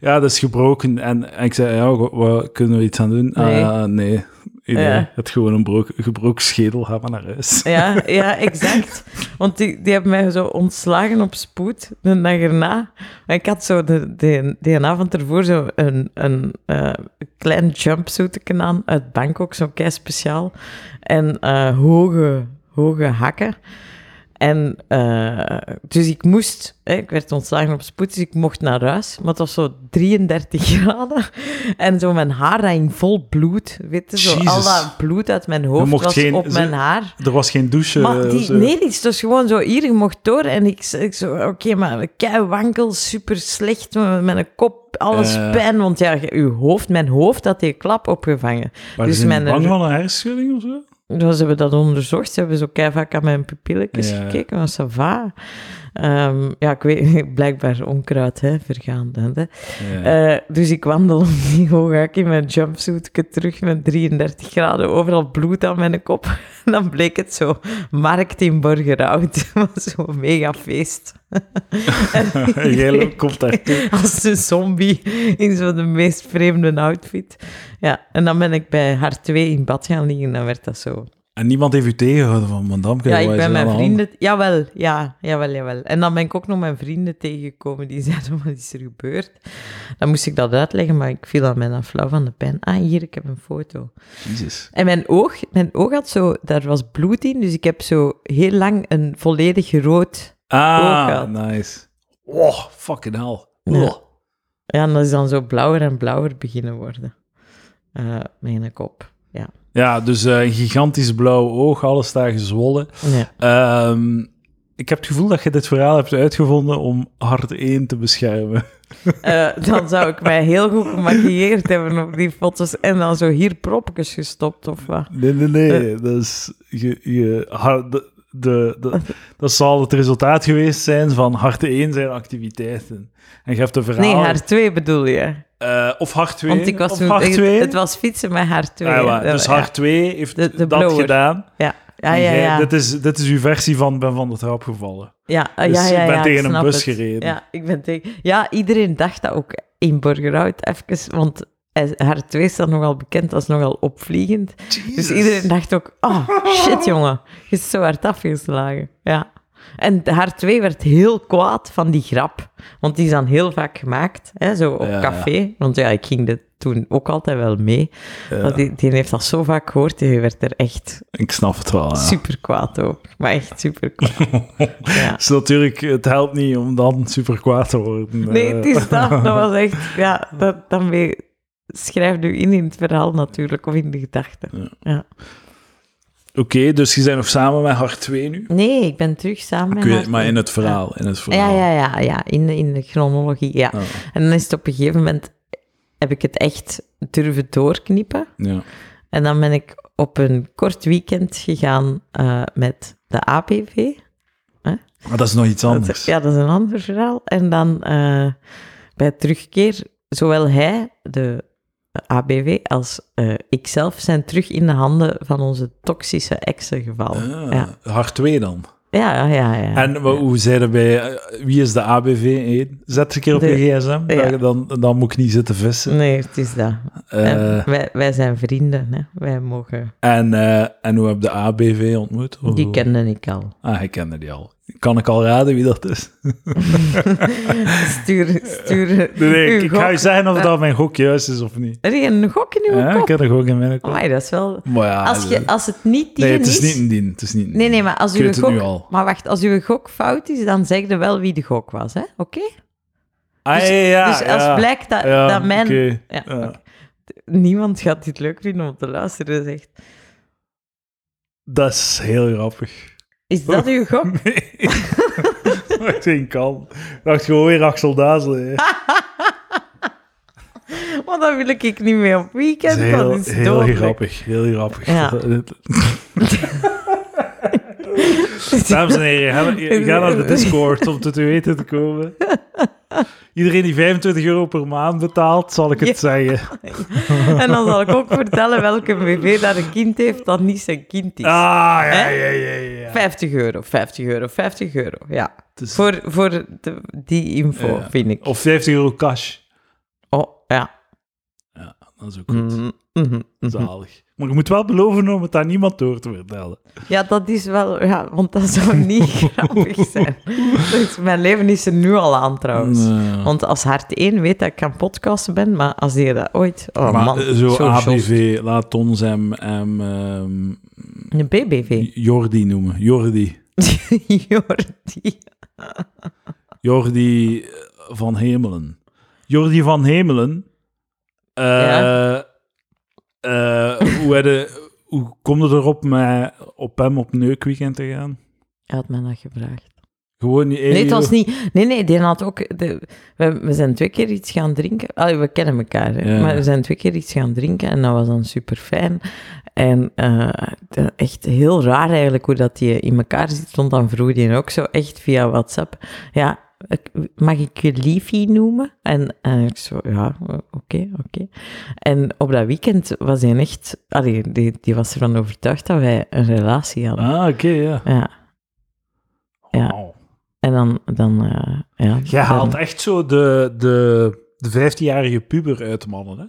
S1: ja dat is gebroken. En, en ik zei, ja, wa- wat kunnen we iets aan doen? Ah,
S2: Nee.
S1: ja, nee. Ik, eh,
S2: Ja.
S1: Het gewoon een broek- gebroken schedel, ga maar naar huis.
S2: Ja, ja, exact. Want die, die hebben mij zo ontslagen op spoed de dag erna. Maar ik had zo de, de, die avond ervoor zo een, een eh, klein jumpsuitje aan uit Bangkok, zo kei speciaal. En eh, hoge, hoge hakken. En eh, dus ik moest, hè, ik werd ontslagen op spoed, dus ik mocht naar huis. Maar het was zo 33 graden. En zo mijn haar dat hing vol bloed. Weet je, zo al
S1: Jezus.
S2: dat bloed uit mijn hoofd
S1: mocht
S2: was
S1: geen-
S2: op
S1: ze-
S2: mijn haar.
S1: Er was geen douche.
S2: Maar
S1: eh,
S2: die,
S1: zo.
S2: nee, die is dus gewoon zo hier, je mocht door. En ik, ik zo, oké, maar kei wankel, super slecht, met mijn kop, alles
S1: Eh.
S2: pijn. Want ja, je- uw hoofd, mijn hoofd had die klap opgevangen.
S1: Maar
S2: dus
S1: ze zijn
S2: mijn-
S1: bang van een hersenschudding of zo?
S2: Dus ze hebben dat onderzocht, ze hebben zo kei vaak aan mijn pupilletjes
S1: Ja.
S2: gekeken, maar ça va. Ehm, ja, ik weet, blijkbaar onkruid, hè, vergaand. Hè.
S1: Ja.
S2: Eh, dus ik wandel om die hooghaak in mijn jumpsuitje terug met 33 graden, overal bloed aan mijn kop. En dan bleek het zo markt in Borgerhout. Dat was zo'n mega feest.
S1: En Jij loopt- komt daar.
S2: Als een zombie in zo'n de meest vreemde outfit. Ja, en dan ben ik bij haar twee in bad gaan liggen en dan werd dat zo.
S1: En niemand heeft u tegengehouden van, madame,
S2: Ja,
S1: wat is
S2: ik ben
S1: er aan
S2: mijn
S1: de hand?
S2: vrienden... Jawel, ja, jawel, jawel. En dan ben ik ook nog mijn vrienden tegengekomen die zeiden, wat is er gebeurd? Dan moest ik dat uitleggen, maar ik viel aan mijn flauw van de pijn. Ah, hier, ik heb een foto.
S1: Jezus.
S2: En mijn oog, mijn oog had zo... Daar was bloed in, dus ik heb zo heel lang een volledig rood... Ook
S1: Ah,
S2: gehad.
S1: nice. Oh, fucking hell.
S2: Ja.
S1: Oh.
S2: eh, Ja, en dat is dan zo blauwer en blauwer beginnen worden. Eh mijn kop, ja.
S1: Ja, dus eh, een gigantisch blauw oog, alles daar gezwollen.
S2: Ja.
S1: Ehm, ik heb het gevoel dat je dit verhaal hebt uitgevonden om hart 1 te beschermen.
S2: Eh, dan zou ik mij heel goed gemaquilleerd hebben op die foto's. En dan zo hier propjes gestopt of wat.
S1: Nee, nee, nee. dat is... Je, je, har- de, de, de- dat zal het resultaat geweest zijn van hart 1 zijn activiteiten. En je hebt een verhaal...
S2: Nee, haar twee bedoel je.
S1: eh, of hart 2.
S2: Want ik was
S1: of
S2: toen,
S1: hart
S2: ik-
S1: 2.
S2: het was fietsen met haar twee.
S1: Ah, ja, dus
S2: ja.
S1: hart 2 heeft
S2: De- de
S1: dat
S2: blower.
S1: gedaan.
S2: Ja, ja,
S1: En
S2: ja.
S1: jij-
S2: ja.
S1: Dit, is, dit is uw versie van ben van de trap gevallen.
S2: Ja, ah,
S1: Dus
S2: ja,
S1: ik
S2: ja,
S1: ben
S2: ja,
S1: tegen een
S2: snap
S1: bus
S2: het.
S1: gereden.
S2: Ja, ik ben tegen... Ja, iedereen dacht dat ook in Burgerhout even, want hij- haar twee staat nogal bekend als nogal opvliegend. Dus iedereen dacht ook, oh shit jongen, je is zo hard afgeslagen. Ja. En haar twee werd heel kwaad van die grap, want die is dan heel vaak gemaakt, hè, zo op
S1: Ja, ja.
S2: café. Want ja, ik ging dat toen ook altijd wel mee.
S1: Ja.
S2: Want die, die heeft dat zo vaak gehoord, die werd er echt
S1: Ik snap het wel, ja.
S2: super kwaad over. Maar echt super kwaad. ja.
S1: Dus natuurlijk, het helpt niet om dan super kwaad te worden.
S2: Nee,
S1: Eh,
S2: het is dat. Dat was echt... Ja, dat, dan weer... Schrijf nu in in het verhaal natuurlijk, of in de gedachten.
S1: Oké, dus je zijn nog samen met haar twee nu?
S2: Nee, ik ben terug samen
S1: Ik weet
S2: met
S1: het, maar in het verhaal. In het
S2: Ja,
S1: verhaal.
S2: ja, ja, ja in, de- in de chronologie, ja.
S1: Oh,
S2: En dan is het op een gegeven moment... Heb ik het echt durven doorknippen.
S1: ja.
S2: En dan ben ik op een kort weekend gegaan eh, met de APV.
S1: Maar dat is nog iets
S2: Dat-
S1: anders.
S2: ja, dat is een ander verhaal. En dan eh, bij terugkeer, zowel hij, de ABW, als eh, ikzelf zijn terug in de handen van onze toxische exen gevallen.
S1: Ah,
S2: Ja.
S1: Haar twee dan.
S2: Ja, ja, ja. ja.
S1: En wa- hoe zei er bij... eh, Wie is de ABV 1? Zet een keer op
S2: De-
S1: je gsm,
S2: ja.
S1: dan- dan, dan moet ik niet zitten vissen.
S2: Nee, het is dat.
S1: Eh,
S2: En wij, wij zijn vrienden, hè. wij mogen...
S1: en, eh, en hoe heb je de ABV ontmoet? Of
S2: Die
S1: hoe?
S2: kende ik al.
S1: Ah, ik kende die al. Kan ik al raden wie dat is?
S2: Stuur, stuur
S1: Nee, nee,
S2: uw
S1: ik, ik ga
S2: gok.
S1: je zeggen of dat mijn gok juist is of niet.
S2: Er is een gok in uw
S1: Ja, ik
S2: kop.
S1: heb er ook in mijn kop.
S2: Amai, dat is wel...
S1: Maar ja, dus-
S2: Als, je, als het niet die
S1: nee, het is
S2: is...
S1: niet een dien. Het is niet een
S2: Nee,
S1: dien.
S2: nee, maar als
S1: Ik
S2: uw
S1: weet het nu
S2: gok...
S1: al.
S2: Maar wacht, als uw gok fout is, dan zeg je wel wie de gok was, hè? Oké?
S1: Ah,
S2: dus-
S1: ja, ja,
S2: dus als
S1: ja.
S2: blijkt dat,
S1: Ja,
S2: dat mijn...
S1: Ah, oké.
S2: Ja,
S1: Ja.
S2: oké. Niemand gaat dit leuk vinden om te luisteren, zegt...
S1: Dat is heel grappig.
S2: Is dat uw gok?
S1: Nee. Wat geen kan. Ik dacht gewoon weer Axel Dazel. hè.
S2: Want dan wil ik ik niet meer op
S1: Dat
S2: weekend.
S1: is
S2: dat
S1: heel,
S2: is
S1: heel
S2: dodelijk.
S1: grappig. Heel grappig.
S2: Ja.
S1: Dames en heren, ga, ga naar de Discord om tot u weten te komen. Iedereen die 25 euro per maand betaalt, zal ik het
S2: Ja.
S1: zeggen.
S2: En dan zal ik ook vertellen welke BV dat een kind heeft dat niet zijn kind is.
S1: Ah, ja, ja,
S2: Hè?
S1: ja, ja.
S2: 50 euro, 50 euro, 50 euro, ja.
S1: Het is-
S2: Voor, voor de- die info,
S1: Ja.
S2: vind ik.
S1: Of 50 euro cash.
S2: Oh, ja.
S1: Dat is ook goed.
S2: Mhm, mhm, mhm.
S1: Zalig. Maar je moet wel beloven om het aan niemand door te vertellen.
S2: Ja, dat is wel... Ja, want dat zou niet grappig zijn. Dus mijn leven is er nu al aan, trouwens. Want als hart 1 weet dat ik aan podcasten ben, maar als die dat ooit... Oh
S1: maar
S2: man,
S1: eh, zo
S2: shocked.
S1: ABV, laat ons hem, hem ehm,
S2: Een BBV.
S1: Jordi noemen. Jordi.
S2: Jordi.
S1: Jordi eh, van Hemelen. Jordi van Hemelen. Eh,
S2: Ja.
S1: eh, hoe, had je- hoe kom je erop met op hem op neukweekend te gaan?
S2: Hij had mij dat gevraagd.
S1: Gewoon niet
S2: Nee, het was niet... Nee, nee, die had ook... de- we, we zijn twee keer iets gaan drinken. Allee, we kennen elkaar, hè.
S1: Ja.
S2: Maar we zijn twee keer iets gaan drinken en dat was dan super fijn. En eh, de- echt heel raar eigenlijk hoe dat die in elkaar zit. Want dan vroeg die ook zo echt via WhatsApp. Ja, ik- mag ik je liefie noemen? En, en ik zo, ja, oké, oké. En op dat weekend was hij echt... Allee, die, die was ervan overtuigd dat wij een relatie hadden.
S1: Ah, oké, ja.
S2: Ja. Ja.
S1: Wauw.
S2: En dan... dan eh, ja,
S1: Jij
S2: dan-
S1: haalt echt zo de, de, de 15-jarige puber uit mannen, hè?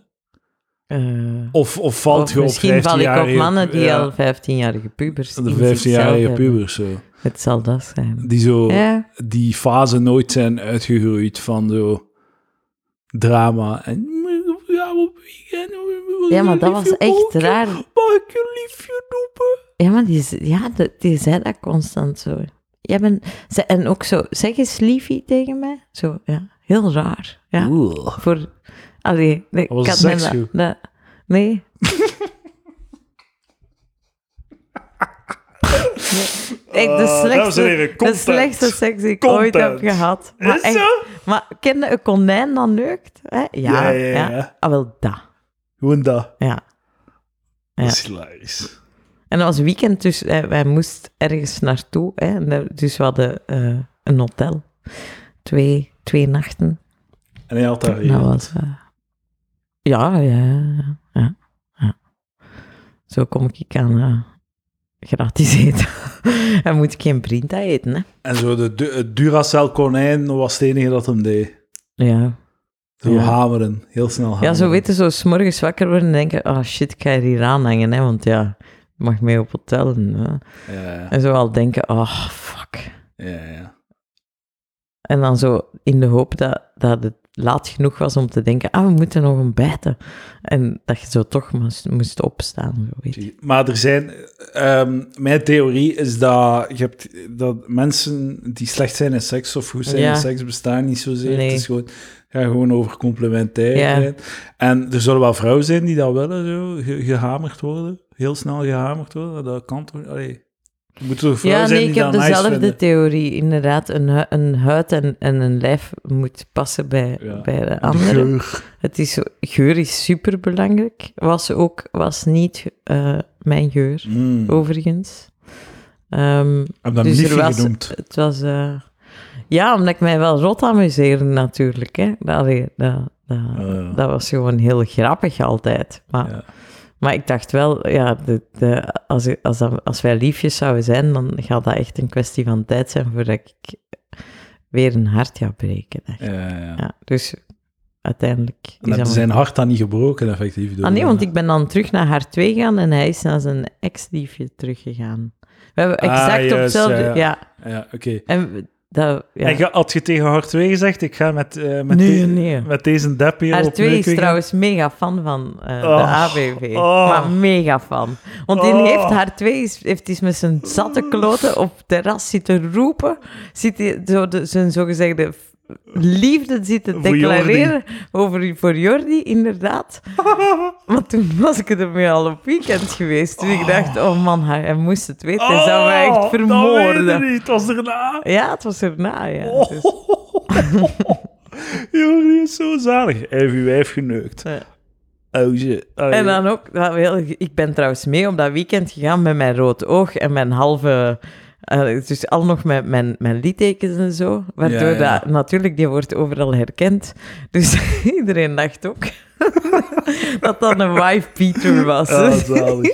S2: Eh,
S1: Of, of valt
S2: of
S1: je op
S2: misschien val ik op
S1: 15-jarige
S2: mannen die
S1: ja,
S2: al 15-jarige pubers in
S1: De Oh.
S2: zichzelf
S1: 15-jarige
S2: hebben.
S1: pubers, zo.
S2: Het zal dat zijn.
S1: Die zo
S2: Ja,
S1: die fase nooit zijn uitgegroeid van zo drama en ja, op weekend,
S2: ja maar dat was echt raar.
S1: Mag ik je liefje noemen?
S2: Ja, maar die, z- ja, de- die zei dat constant zo. Jij bent, ze- en ook zo, zeg eens liefie tegen mij. Zo, ja, heel raar. Ja,
S1: Oeh.
S2: voor... Allee, nee,
S1: Dat was
S2: ik
S1: een
S2: had me
S1: seksshow.
S2: dat- Nee. nee. Echt de
S1: Eh, dames en heren,
S2: slechtste, de
S1: content.
S2: slechtste seks die ik ooit heb
S1: Content.
S2: gehad. Maar, echt, maar ken je een konijn dat neukt? Hè? Ja,
S1: Ja, ja,
S2: ja,
S1: ja.
S2: Ah, wel dat.
S1: Gewoon dat.
S2: Ja.
S1: Dat
S2: Ja.
S1: is hilarisch.
S2: En dat was weekend, dus eh, wij moesten ergens naartoe. Hè, En daar- dus we hadden eh, een hotel. Twee, twee nachten.
S1: En hij had daar
S2: dat was... eh, ja, ja, ja, ja, ja. Zo kom ik aan eh, gratis eten. en moet ik geen brinta eten, hè.
S1: En zo de, du- het Duracell konijn was het enige dat hem deed.
S2: Ja.
S1: Zo
S2: Ja.
S1: hameren, heel snel hameren.
S2: ja, zo weten zo s'morgens wakker worden en denken... Ah, shit, ik ga hier aanhangen, hè. Want ja, ik mag mee op hotel. En, eh,
S1: Ja, ja,
S2: en zo al denken... Ah, fuck.
S1: ja, ja.
S2: En dan zo in de hoop dat, dat het laat genoeg was om te denken, ah, we moeten nog ontbijten. En dat je zo toch moest, moest opstaan. Zo, weet je.
S1: Maar er zijn... ehm, mijn theorie is dat, je hebt, dat mensen die slecht zijn in seks of goed zijn
S2: Ja.
S1: in seks bestaan niet zozeer.
S2: Nee.
S1: Het is gewoon, ja, gewoon over complementairheid. En er zullen wel vrouwen zijn die dat willen, zo, ge- gehamerd worden. Heel snel gehamerd worden. Dat kan toch... Allee. Er moeten toch vrouwen
S2: Ja,
S1: zijn
S2: nee, ik
S1: die
S2: heb
S1: dat nice
S2: dezelfde
S1: vinden.
S2: theorie. Inderdaad, een, hu- een huid en, en een lijf moet passen bij,
S1: Ja.
S2: bij de
S1: De
S2: andere.
S1: geur.
S2: Het is, zo- geur is superbelangrijk. Was ook, was niet eh, mijn geur,
S1: Mm.
S2: overigens. Ehm,
S1: Ik heb dat
S2: Dus er
S1: liefje
S2: was-
S1: genoemd.
S2: Het was... eh, ja, omdat ik mij wel rot amuseerde natuurlijk. Hè. Dat, allee, dat, dat,
S1: ja.
S2: dat was gewoon heel grappig altijd. Maar,
S1: Ja.
S2: maar ik dacht wel, ja, de, de, als, ik- als, dat- als wij liefjes zouden zijn, dan gaat dat echt een kwestie van tijd zijn voordat ik weer een hart ga breken. Echt.
S1: Ja, ja, ja.
S2: Ja, dus uiteindelijk... is
S1: En heb
S2: dat
S1: je zijn hart dan niet gebroken, effectief. door-
S2: Ah nee, want ik ben dan terug naar haar twee gegaan en hij is naar zijn ex-liefje teruggegaan. We hebben
S1: Ah,
S2: exact op
S1: juist, ja,
S2: hetzelfde...
S1: ja.
S2: Ja,
S1: Ja, oké.
S2: en we- dat... Ja.
S1: En ge- had je tegen haar twee gezegd, ik ga met, eh, met,
S2: Nee,
S1: de-
S2: nee.
S1: met deze dep hier op
S2: R2 is
S1: Neukwegen.
S2: trouwens mega fan van eh, de
S1: Oh,
S2: ABV.
S1: oh.
S2: Maar mega fan. Want die
S1: Oh.
S2: heeft R2 is- heeft is met zijn zatte kloten op het terras zitten roepen. Zit die zo de, zijn zogezegde f- liefde zitten
S1: Voor Jordi.
S2: declareren over, voor Jordi, inderdaad. Want toen was ik ermee al op weekend geweest. Toen ik dacht, oh man, hij, hij moest het weten. Hij zou
S1: Oh,
S2: mij echt
S1: dat weet
S2: vermoorden.
S1: ik niet, Oh. het was erna.
S2: Ja, het was erna, ja. Dus,
S1: Joh, die is zo zalig. Hij heeft uw wijf geneukt.
S2: eh.
S1: Oh, shit. Allee.
S2: En dan ook, dat we heel- ik ben trouwens mee op dat weekend gegaan met mijn rood oog en mijn halve. eh, dus al nog met mijn, mijn littekens en zo. Waardoor
S1: Ja, ja.
S2: Dat, natuurlijk, die wordt overal herkend. Dus iedereen dacht ook dat dat een wife beater was.
S1: Ah, zalig.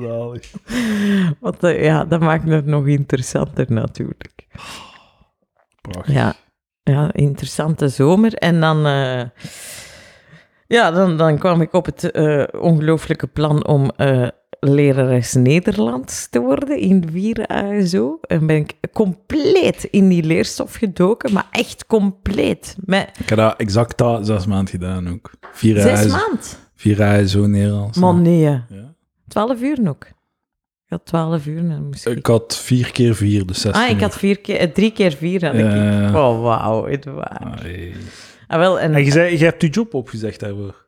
S1: Zalig.
S2: Want eh, ja, dat maakt het nog interessanter natuurlijk.
S1: Prachtig.
S2: Ja, ja interessante zomer. En dan, eh, ja, dan, dan kwam ik op het eh ongelooflijke plan om eh, lerares Nederlands te worden in vier jaar zo. En ben ik compleet in die leerstof gedoken, maar echt compleet. Met
S1: Ik heb dat exact dat zes maanden gedaan ook. Vier
S2: zes
S1: jaar,
S2: maand.
S1: vier jaar zo Nederlands.
S2: Man, nee. hè.
S1: Ja.
S2: Twaalf uur nog. Ik had twaalf uur, dan moest ik...
S1: Ik had vier keer Eh, vier, dus zes
S2: Ah, ik had vier keer, eh, drie keer vier had ik.
S1: Ja.
S2: Oh, wauw, het waar. Ah, wel, en...
S1: En je, zei, je hebt je job opgezegd daarvoor.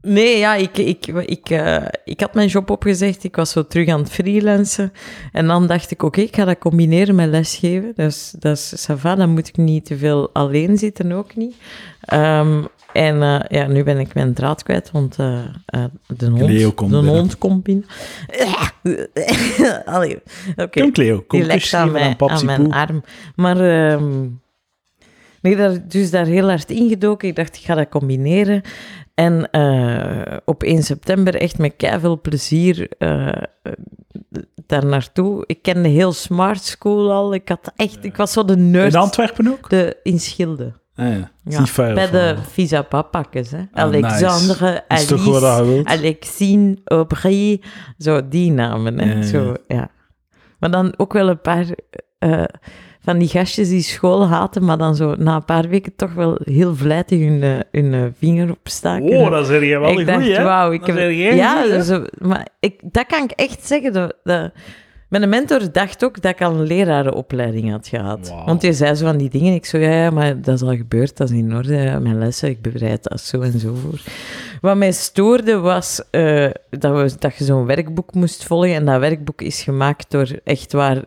S2: Nee, ja, ik, ik, ik, eh, ik had mijn job opgezegd. Ik was zo terug aan het freelancen. En dan dacht ik, oké, ik ga dat combineren met lesgeven. Dus dat is ça va, dan moet ik niet te veel alleen zitten, ook niet. Ehm, en eh, ja, nu ben ik mijn draad kwijt, want eh, eh, de hond
S1: Leo komt
S2: de
S1: binnen.
S2: hond komt binnen. Allee, oké.
S1: Kom, Cleo, kom
S2: Die lekt
S1: kusje
S2: aan
S1: van
S2: mijn,
S1: een papsie
S2: aan mijn
S1: poe.
S2: arm. Maar ehm, nee, daar, dus daar heel hard ingedoken. Ik dacht, ik ga dat combineren. En eh, op 1 september echt met veel plezier eh, eh, daar naartoe. Ik kende heel Smart School al. Ik, had echt, ik was zo de nerd.
S1: In Antwerpen ook?
S2: de, in Schilde.
S1: Ah, ja. Het is
S2: Ja,
S1: niet veilig.
S2: Bij de
S1: voor
S2: visa papakjes, hè.
S1: Ah,
S2: Alexandre,
S1: Dat is toch wat
S2: Alice,
S1: je wilt?
S2: Alexine, Aubry, zo die namen, hè.
S1: Ja, ja,
S2: Zo, ja. Maar dan ook wel een paar eh, van die gastjes die school haten, maar dan zo na een paar weken toch wel heel vlijtig hun, eh, hun eh, vinger opstaken.
S1: Oh, dat zeg je wel
S2: ik
S1: een
S2: dacht,
S1: goeie, hè?
S2: wauw, ik
S1: Dat zeg jij
S2: ja,
S1: goed, hè?
S2: zo- maar ik, dat kan ik echt zeggen. Dat, dat- mijn mentor dacht ook dat ik al een lerarenopleiding had gehad.
S1: Wauw.
S2: Want je zei zo van die dingen. Ik zo, ja, ja, maar dat is al gebeurd, dat is in orde. ja, Mijn lessen, ik bereid dat zo en zo voor. Wat mij stoorde was eh, dat, we, dat je zo'n werkboek moest volgen. En dat werkboek is gemaakt door echt waar...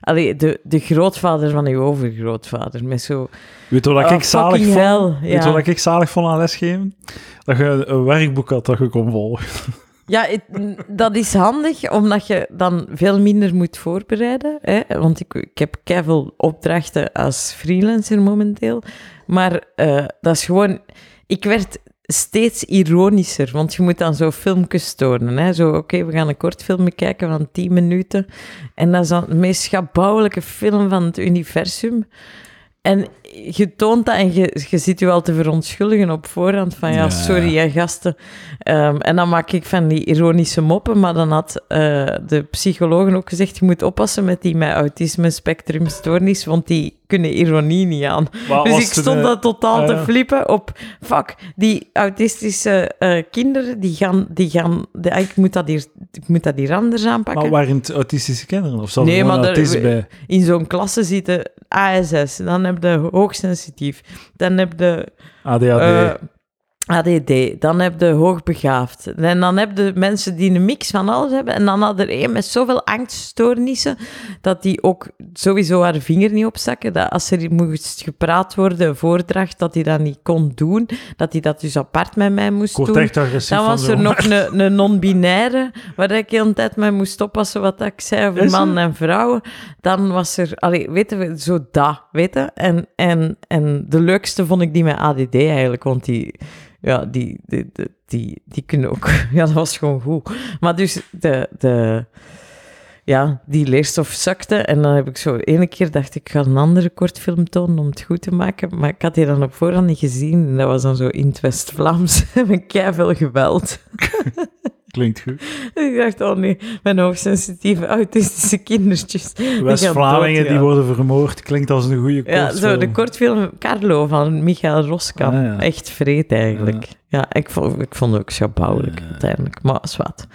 S2: Allee, de, de grootvader van uw overgrootvader. Met zo...
S1: Weet je wat
S2: oh,
S1: ik zalig
S2: fucking
S1: vond?
S2: hell,
S1: Weet je
S2: ja.
S1: wat ik zalig vond aan lesgeven? Dat je een werkboek had dat je kon volgen.
S2: Ja, het- n- dat is handig, omdat je dan veel minder moet voorbereiden. Hè? Want ik, ik heb keiveel opdrachten als freelancer momenteel. Maar eh, dat is gewoon... Ik werd steeds ironischer, want je moet dan zo filmpjes tonen. Hè? Zo, oké, we gaan een kort filmpje kijken van 10 minuten. En dat is dan de meest schabouwelijke film van het universum. En je toont dat en je, je zit je al te verontschuldigen op voorhand van ja,
S1: Ja.
S2: sorry hè, gasten. Ehm, en dan maak ik van die ironische moppen, maar dan had eh, de psychologen ook gezegd je moet oppassen met die met autisme spectrumstoornis, want die kunnen ironie niet aan.
S1: Maar was
S2: Dus ik
S1: het,
S2: stond
S1: eh,
S2: dat totaal
S1: ah,
S2: te
S1: ja.
S2: flippen op... Fuck, die autistische eh, kinderen, die gaan... Die gaan de, ah, ik, moet dat hier, ik moet dat hier anders aanpakken.
S1: Maar waren het autistische kinderen? Of zat
S2: Nee,
S1: er gewoon
S2: maar daar-
S1: autist
S2: we-
S1: bij?
S2: In zo'n klasse zitten ASS, dan heb je hoogsensitief, dan heb je
S1: ADHD.
S2: eh, ADD, dan heb je hoogbegaafd. En dan heb je mensen die een mix van alles hebben. En dan had er één met zoveel angststoornissen, dat die ook sowieso haar vinger niet opstakken. Dat als er moest gepraat worden, een voordracht, dat hij dat niet kon doen. Dat hij dat dus apart met mij moest
S1: ik word
S2: doen.
S1: echt agressief
S2: Dan
S1: van
S2: was
S1: zo'n-
S2: er nog een, een non-binaire, waar ik heel de tijd mee moest oppassen wat ik zei over
S1: Is
S2: mannen en vrouwen. Dan was er, allee, weet je, zo dat, weet je. En, en, en de leukste vond ik die met ADD eigenlijk, want die, ja, die, die, die, die, die kunnen ook... Ja, dat was gewoon goed. Maar dus de... de ja, die leerstof zakte. En dan heb ik zo... ene keer dacht ik, ik ga een andere kortfilm tonen om het goed te maken. Maar ik had die dan op voorhand niet gezien. En dat was dan zo in het West-Vlaams. Met veel geweld.
S1: Klinkt goed.
S2: Ik dacht, oh nee, mijn hoogsensitieve autistische kindertjes. die gaan
S1: West-Vlamingen die
S2: doodgaan.
S1: worden vermoord. Klinkt als een goede
S2: Ja, zo de
S1: kortfilm.
S2: kortfilm Carlo van Michael Roskam.
S1: Ah, ja.
S2: Echt vreed eigenlijk. Ja, ik, vond, ik vond het ook schabouwelijk
S1: Ja.
S2: uiteindelijk. Maar zwart.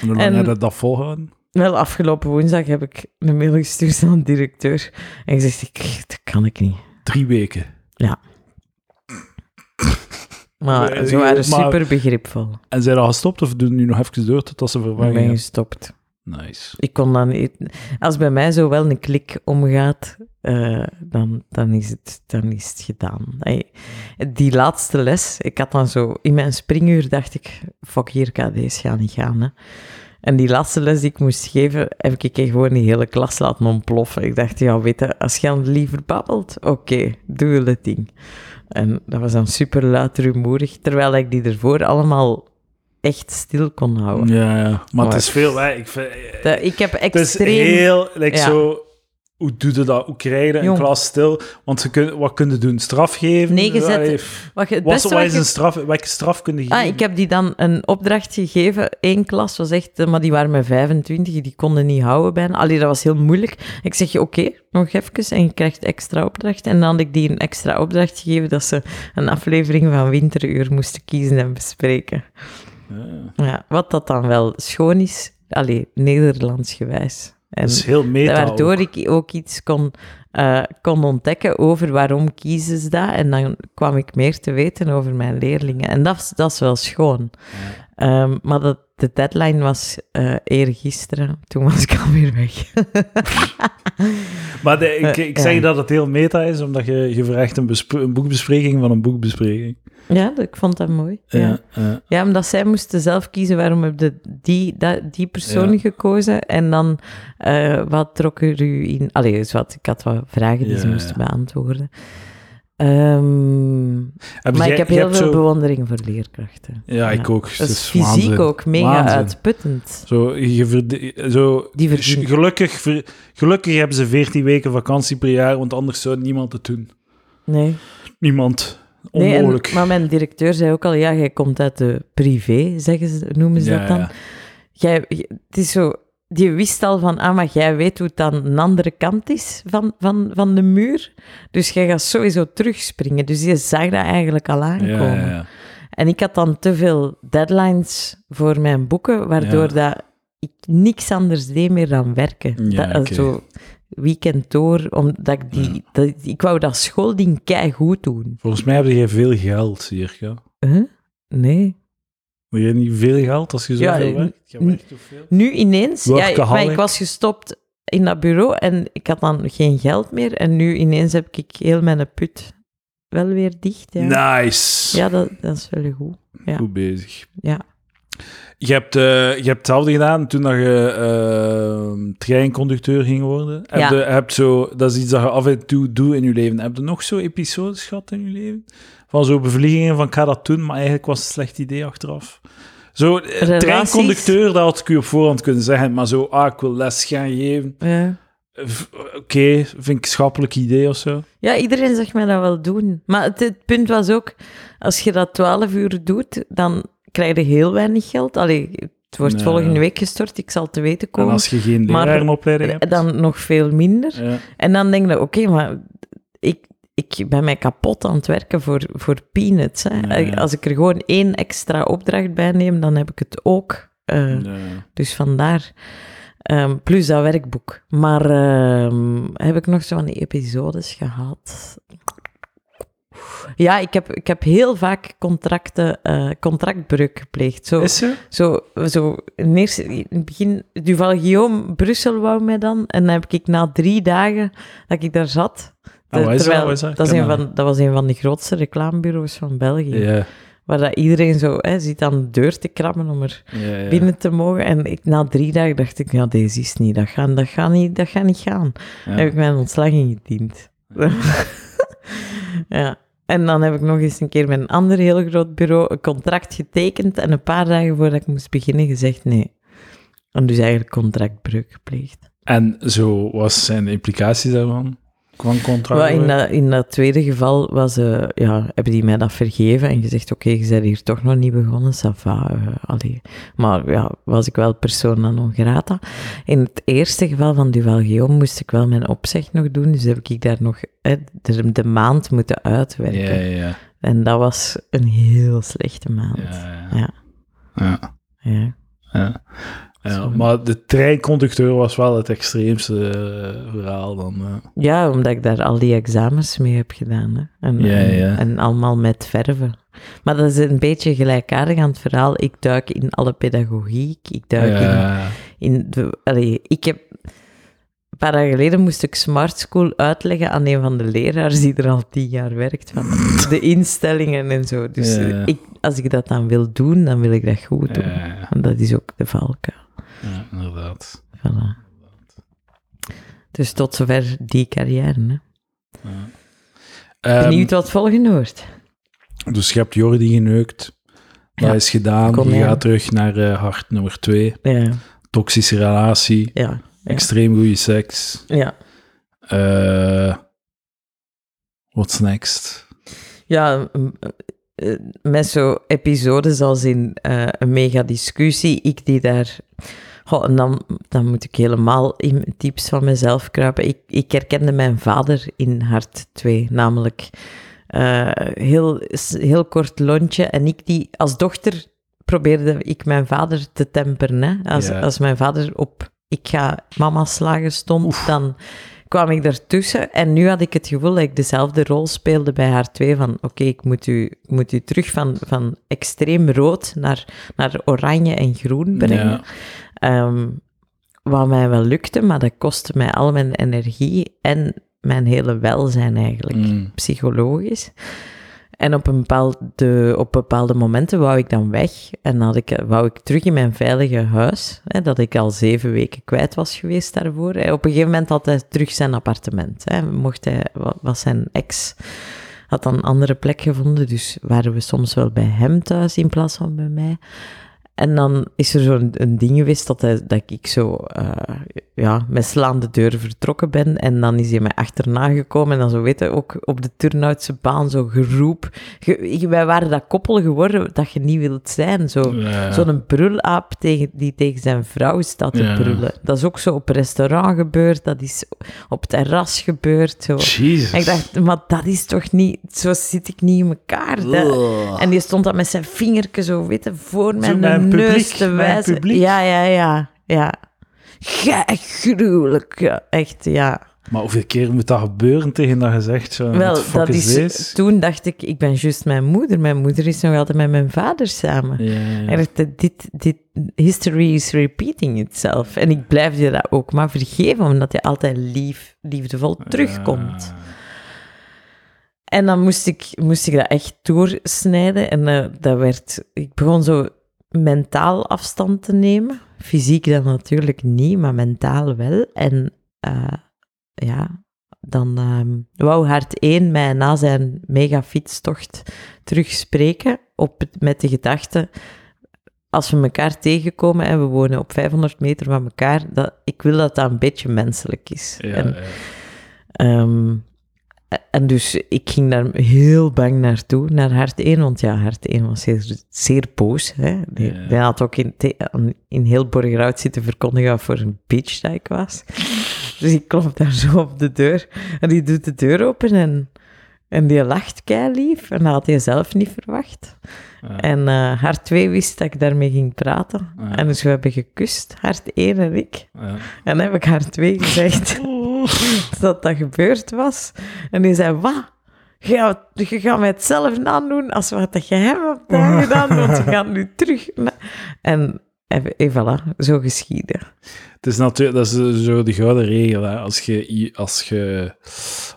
S1: En hoe lang
S2: en-
S1: heb je dat volgehouden?
S2: Wel, afgelopen woensdag heb ik een mail gestuurd aan de directeur. En gezegd, ik, dat kan ik niet.
S1: Drie weken.
S2: Maar
S1: Nee,
S2: ze waren
S1: maar-
S2: super begripvol.
S1: En zijn al gestopt of doen nu nog even door totdat ze
S2: Ik ben
S1: verwarring
S2: gestopt.
S1: hebben? Nice.
S2: Ik kon dan niet... Als bij mij zo wel een klik omgaat, eh, dan, dan, is het, dan is het gedaan. Hey, die laatste les, ik had dan zo... In mijn springuur dacht ik, fuck hier, KD's gaan niet gaan, hè. En die laatste les die ik moest geven, heb ik echt gewoon die hele klas laten ontploffen. Ik dacht, ja, weet je, als je dan liever babbelt, oké, doe je het ding. En dat was dan super luid rumoerig, terwijl ik die ervoor allemaal echt stil kon houden.
S1: Ja, ja. Maar,
S2: Maar-
S1: het is veel... hè. Ik vind,
S2: Dat- ik heb
S1: het is
S2: extreem...
S1: heel... Like
S2: Ja.
S1: zo, hoe doe je dat? Hoe krijg je een
S2: Jong.
S1: klas stil? Want ze kunnen, wat kunnen doen? Straf geven?
S2: Nee, je zet-
S1: Allee,
S2: Wat je- het
S1: Wat,
S2: beste
S1: wat
S2: wat
S1: is
S2: je-
S1: een straf? Welke straf kun je geven?
S2: Ah, ik heb die dan een opdracht gegeven. Eén klas was echt, eh, maar die waren met 25, die konden niet houden bijna. Allee, dat was heel moeilijk. Ik zeg, oké, nog even en je krijgt extra opdracht. En dan had ik die een extra opdracht gegeven dat ze een aflevering van Winteruur moesten kiezen en bespreken.
S1: Ja.
S2: Ja, wat dat dan wel schoon is, allee, Nederlands gewijs. En
S1: Dat is heel meta. ook.
S2: waardoor ik ook iets kon, eh, kon ontdekken over waarom kiezen ze dat. En dan kwam ik meer te weten over mijn leerlingen. En dat, is- dat is wel schoon. Ehm, maar dat, de deadline was eh eergisteren. Toen was ik alweer weg.
S1: Maar de- ik, ik
S2: Eh,
S1: zeg
S2: ja.
S1: dat het heel meta is, omdat je, je vergt een, bespre- een boekbespreking van een boekbespreking.
S2: ja, dat- ik vond dat mooi. Ja. Ja.
S1: ja.
S2: omdat zij moesten zelf kiezen waarom heb je die, dat, die persoon
S1: Ja.
S2: gekozen. En dan eh, wat trok er u in... Allee, dus wat, ik had wat vragen die ze
S1: Ja,
S2: moesten
S1: ja.
S2: beantwoorden. Ehm,
S1: Heb
S2: maar
S1: jij-
S2: ik heb
S1: je
S2: heel
S1: hebt
S2: veel
S1: zo-
S2: bewondering voor leerkrachten.
S1: Ja, ik ook.
S2: Dat
S1: Het
S2: is
S1: is
S2: fysiek
S1: waanzin.
S2: ook mega
S1: Waanzin.
S2: uitputtend.
S1: Zo, je verd- zo,
S2: Die verdient-
S1: Dus gelukkig, ver- gelukkig hebben ze 14 weken vakantie per jaar, want anders zou niemand het doen.
S2: Nee.
S1: Niemand.
S2: Nee, en-
S1: Onmogelijk.
S2: maar mijn directeur zei ook al, ja, jij komt uit de privé, zeggen ze, noemen ze
S1: Ja,
S2: dat dan.
S1: ja.
S2: Jij, j- het is zo, die wist al van, ah, maar jij weet hoe het aan een andere kant is van, van, van de muur. Dus jij gaat sowieso terugspringen. Dus je zag dat eigenlijk al
S1: Ja,
S2: aankomen.
S1: ja, ja.
S2: En ik had dan te veel deadlines voor mijn boeken, waardoor dat ik niks anders deed meer dan werken.
S1: Ja,
S2: dat, eh,
S1: oké.
S2: Zo weekend door, omdat ik die... dat- ik wou dat schoolding goed doen.
S1: Volgens mij heb je veel geld, Sirka.
S2: Huh? Nee.
S1: Heb je niet veel geld als je
S2: Ja,
S1: zoveel
S2: ik-
S1: werkt? Je werkt toch veel?
S2: Nu ineens... Ja, ik- maar ik
S1: Workaholic.
S2: was gestopt in dat bureau en ik had dan geen geld meer. En nu ineens heb ik heel mijn put wel weer dicht. Ja,
S1: Nou. Nice.
S2: ja dat, dat is wel goed. ja.
S1: Goed bezig.
S2: Ja.
S1: Je hebt, eh, je hebt hetzelfde gedaan toen dat je eh, treinconducteur ging worden. Heb
S2: Ja.
S1: je, heb zo, dat is iets dat je af en toe doet in je leven. Heb je nog zo episodes gehad in je leven? Van zo bevliegingen van ik ga dat doen, maar eigenlijk was het een slecht idee achteraf. Zo, eh,
S2: Relaties?
S1: treinconducteur, dat had ik u op voorhand kunnen zeggen. Maar zo, ah, ik wil les gaan geven.
S2: Ja.
S1: Eh, v- Oké, vind ik een schappelijk idee of zo.
S2: Ja, iedereen zag mij dat wel doen. Maar het, het punt was ook, als je dat 12 uur doet, dan krijg je heel weinig geld. Allee, het wordt
S1: Ja.
S2: volgende week gestort, ik zal te weten
S1: En
S2: komen.
S1: als je geen
S2: Maar- eh,
S1: lerarenopleiding hebt.
S2: Dan nog veel minder.
S1: Ja.
S2: En dan denk je, oké, maar ik, ik ben mij kapot aan het werken voor, voor peanuts. Hè.
S1: Ja.
S2: Als ik er gewoon één extra opdracht bij neem, dan heb ik het ook. Eh,
S1: Ja.
S2: Dus vandaar. Ehm, plus dat werkboek. Maar ehm, heb ik nog zo'n episodes gehad? Ja, ik heb, ik heb heel vaak contracten, eh, contractbreuk gepleegd. Zo,
S1: Is ze?
S2: zo, zo in, eerste- in het begin, Duval Guillaume, Brussel wou mij dan. En dan heb ik na drie dagen dat ik daar zat.
S1: Ah, wat is dat?
S2: terwijl-
S1: Wat is dat?
S2: dat, is
S1: Ken
S2: een
S1: dat
S2: van, dat was een van de grootste reclamebureaus van België.
S1: Ja.
S2: Waar dat iedereen zo hè, zit aan de deur te krabben om er
S1: Ja, ja.
S2: binnen te mogen. En ik, na drie dagen dacht ik, ja, deze is niet, dat gaat, dat gaat, niet, dat gaat niet gaan.
S1: Ja.
S2: Heb ik mijn ontslag ingediend. ja. En dan heb ik nog eens een keer met een ander heel groot bureau een contract getekend en een paar dagen voordat ik moest beginnen gezegd nee. En dus eigenlijk contractbreuk gepleegd.
S1: En zo, wat zijn de implicaties daarvan? Van contract?
S2: Wel, in, dat, in dat tweede geval was, eh, ja, hebben die mij dat vergeven en gezegd, oké, je bent hier toch nog niet begonnen, ça va, eh, allee. Maar ja, was ik wel persona non grata. In het eerste geval van Duval Guillaume moest ik wel mijn opzeg nog doen, dus heb ik daar nog eh, de, de maand moeten uitwerken.
S1: Ja, ja, ja.
S2: En dat was een heel slechte maand. Ja.
S1: ja, ja. Ja, ja. Ja,
S2: Zo.
S1: maar de treinconducteur was wel het extreemste eh, verhaal dan. eh.
S2: Ja, omdat ik daar al die examens mee heb gedaan. Hè. En,
S1: Ja,
S2: en-
S1: ja.
S2: en allemaal met verven. Maar dat is een beetje gelijkaardig aan het verhaal. Ik duik in alle pedagogiek. Ik duik in,
S1: Ja,
S2: in de... Allee, ik heb... Een paar jaar geleden moest ik Smart School uitleggen aan een van de leraars die er al tien jaar werkt. Van de instellingen en zo. Dus
S1: Ja, ja.
S2: Ik, als ik dat dan wil doen, dan wil ik dat goed
S1: ja,
S2: doen.
S1: ja,
S2: En dat is ook de valkuil.
S1: ja, inderdaad.
S2: Voilà. Dus tot zover die carrière. Hè.
S1: Ehm,
S2: Benieuwd wat het volgende wordt.
S1: dus je hebt Jordi geneukt. Dat
S2: Ja.
S1: is gedaan.
S2: Kom,
S1: je
S2: ja.
S1: gaat terug naar eh, hart nummer twee.
S2: Ja,
S1: Toxische relatie.
S2: ja, Ja.
S1: Extreem goede seks.
S2: ja.
S1: Eh what's next?
S2: ja m- eh, met zo episodes als in eh, een mega discussie, ik die daar... Goh, en dan, dan moet ik helemaal in types van mezelf kruipen. Ik, ik herkende mijn vader in Hart 2, namelijk eh, heel, s- heel kort lontje. En ik die als dochter probeerde ik mijn vader te temperen. Hè? Als,
S1: Ja.
S2: als mijn vader op ik ga mama slagen stond, dan kwam ik daartussen. En nu had ik het gevoel dat ik dezelfde rol speelde bij haar twee. Van oké, ik, moet u- ik moet u terug van, van extreem rood naar, naar oranje en groen brengen.
S1: Ja.
S2: Ehm, wat mij wel lukte, maar dat kostte mij al mijn energie en mijn hele welzijn eigenlijk,
S1: Mm.
S2: psychologisch. En op, een bepaalde, op bepaalde momenten wou ik dan weg en had ik, wou ik terug in mijn veilige huis, hè, dat ik al zeven weken kwijt was geweest daarvoor. Hè. Op een gegeven moment had hij terug zijn appartement. Hè. Mocht hij, wa- was zijn ex, had dan een andere plek gevonden, dus waren we soms wel bij hem thuis in plaats van bij mij. En dan is er zo'n een ding geweest dat, hij, dat ik zo eh, ja, met slaande deuren vertrokken ben. En dan is hij mij achterna gekomen. En dan zo weet je, ook op de Turnhoutse baan, zo geroep. Ge- ik- wij waren dat koppel geworden dat je niet wilt zijn. Zo.
S1: Ja.
S2: Zo'n brulaap tegen, die tegen zijn vrouw staat te
S1: Ja.
S2: brullen. Dat is ook zo op restaurant gebeurd. Dat is op het terras gebeurd. Zo.
S1: Jezus.
S2: En ik dacht, maar dat is toch niet... Zo zit ik niet in elkaar. dat-
S1: Ugh.
S2: en die stond dat met zijn vingertje zo weet je, voor mijn,
S1: mijn
S2: neus
S1: publiek,
S2: te
S1: mijn
S2: wijzen.
S1: publiek.
S2: Ja, ja, ja. ja. Gij- gruwelijk. ja, Echt, ja.
S1: Maar hoeveel keer moet dat gebeuren tegen dat gezegd? Zo,
S2: Wel,
S1: wat fuck
S2: dat
S1: is
S2: is,
S1: dit?
S2: toen dacht ik, ik ben juist mijn moeder. Mijn moeder is nog altijd met mijn vader samen.
S1: Ja, ja, ja.
S2: En ik dacht, dit, dit, history is repeating itself. En ik blijf je dat ook maar vergeven, omdat je altijd lief, liefdevol terugkomt. En dan moest ik, moest ik dat echt doorsnijden. En eh, dat werd... Ik begon zo mentaal afstand te nemen. Fysiek dan natuurlijk niet, maar mentaal wel. En eh, ja, dan ehm wou Hart 1 mij na zijn megafietstocht terugspreken op, het- met de gedachte... Als we elkaar tegenkomen en we wonen op 500 meter van elkaar, dat, ik wil dat dat een beetje menselijk is.
S1: Ja,
S2: En-
S1: ja.
S2: Ehm, en dus ik ging daar heel bang naartoe, naar Hart 1, want ja, Hart 1 was zeer, zeer boos. Hè? Die,
S1: Ja.
S2: die had ook in, te- in heel Borgerhout zitten verkondigen wat voor een bitch dat ik was. Dus ik klop daar zo op de deur en die doet de deur open en, en die lacht lief en dat had hij zelf niet verwacht.
S1: Ja.
S2: En eh, Hart 2 wist dat ik daarmee ging praten.
S1: Ja.
S2: En dus we hebben gekust, Hart 1 en ik.
S1: Ja.
S2: En dan heb ik Hart 2 gezegd dat dat gebeurd was. En die zei, wat? Je gaat, je gaat mij hetzelfde aandoen als wat dat je hem hebt aangedaan, want we gaan nu terug. na- En, en, en voilà, zo geschieden.
S1: Het is natuurlijk, dat is eh, zo de gouden regel. Hè. Als, je, als, je,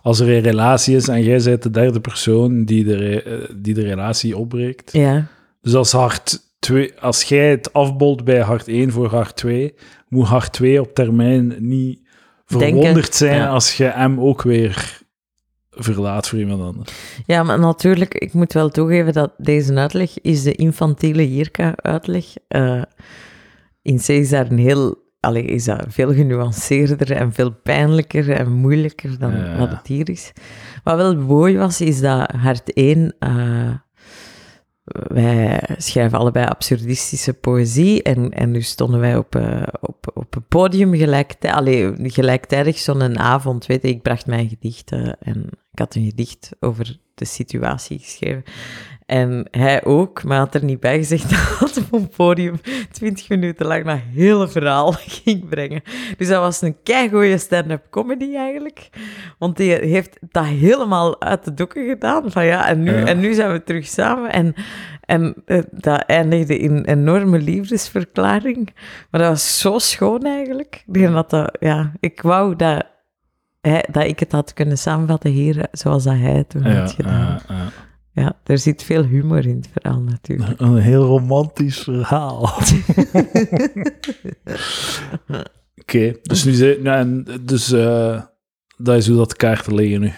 S1: als er een relatie is en jij bent de derde persoon die de, re- eh, die de relatie opbreekt.
S2: Ja,
S1: Dus als, hart twee, als jij het afbolt bij hart 1 voor hart 2, moet hart 2 op termijn niet
S2: Denken.
S1: verwonderd zijn
S2: Ja.
S1: als je hem ook weer verlaat voor iemand anders.
S2: ja maar natuurlijk, ik moet wel toegeven dat deze uitleg is de infantiele Jirka-uitleg. Eh, in C is daar een heel... Allee, is dat veel genuanceerder en veel pijnlijker en moeilijker dan
S1: Ja.
S2: wat het hier is. Wat wel mooi was, is dat Hart 1... eh, wij schrijven allebei absurdistische poëzie en, en nu stonden wij op, eh, op, op een podium gelijktij, allee, gelijktijdig zo'n avond. Weet je, ik bracht mijn gedichten en ik had een gedicht over de situatie geschreven. En hij ook, maar had er niet bij gezegd dat hij op een podium 20 minuten lang dat hele verhaal ging brengen. Dus dat was een keigoeie stand-up comedy eigenlijk. Want die heeft dat helemaal uit de doeken gedaan. Van ja, en nu,
S1: Ja.
S2: En nu zijn we terug samen. En, en eh, dat eindigde in een enorme liefdesverklaring. Maar dat was zo schoon eigenlijk. Ik denk Dat dat, ja, ik wou dat, hij, dat ik het had kunnen samenvatten hier, zoals dat hij het toen had gedaan.
S1: ja, ja.
S2: Ja, er zit veel humor in het verhaal natuurlijk.
S1: Een heel romantisch verhaal. Oké, dus nu zit. nou, en dus eh, dat is hoe dat de kaarten liggen nu.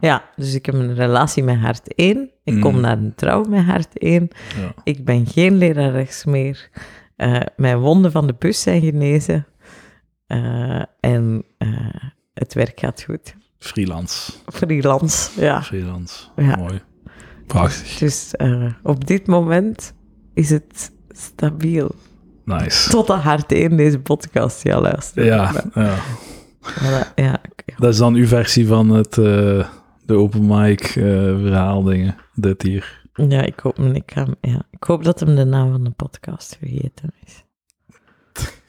S2: Ja, dus ik heb een relatie met hart 1. Ik
S1: Mm.
S2: kom naar een trouw met hart 1.
S1: Ja.
S2: Ik ben geen lerares meer. Eh, mijn wonden van de bus zijn genezen. Eh, en eh, het werk gaat goed.
S1: Freelance.
S2: Freelance, ja.
S1: Freelance.
S2: Ja.
S1: Mooi. Prachtig.
S2: Dus eh, op dit moment is het stabiel.
S1: Nice.
S2: Tot aan hart 1 deze podcast, ja, luister.
S1: Ja, ja.
S2: Voilà, ja, oké.
S1: dat is dan uw versie van het, eh, de open mic eh, verhaal dingen. Dit hier.
S2: ja, ik hoop, ik, ga, ja. ik hoop dat hem de naam van de podcast vergeten is.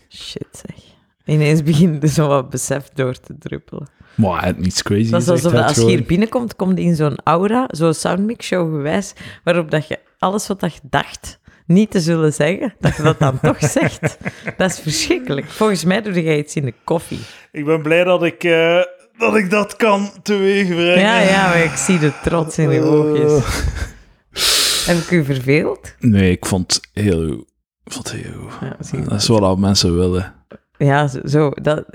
S2: Shit, zeg. Ineens begint er zo wat besef door te druppelen.
S1: Maar het niets crazy.
S2: Dat is
S1: gezegd,
S2: alsof
S1: het
S2: dat als je
S1: gewoon-
S2: hier binnenkomt, komt die in zo'n aura, zo'n soundmix-show gewijs, waarop dat je alles wat dat je dacht niet te zullen zeggen, dat je dat dan toch zegt. Dat is verschrikkelijk. Volgens mij doe jij iets in de koffie.
S1: Ik ben blij dat ik, eh, dat, ik dat kan teweegbrengen.
S2: Ja, ja, maar ik zie de trots in je
S1: Oh.
S2: oogjes. Heb ik u verveeld?
S1: Nee, ik vond het heel, ik vond het heel
S2: Ja, zie
S1: Dat is wat al mensen willen.
S2: Ja, zo- zo. Dat,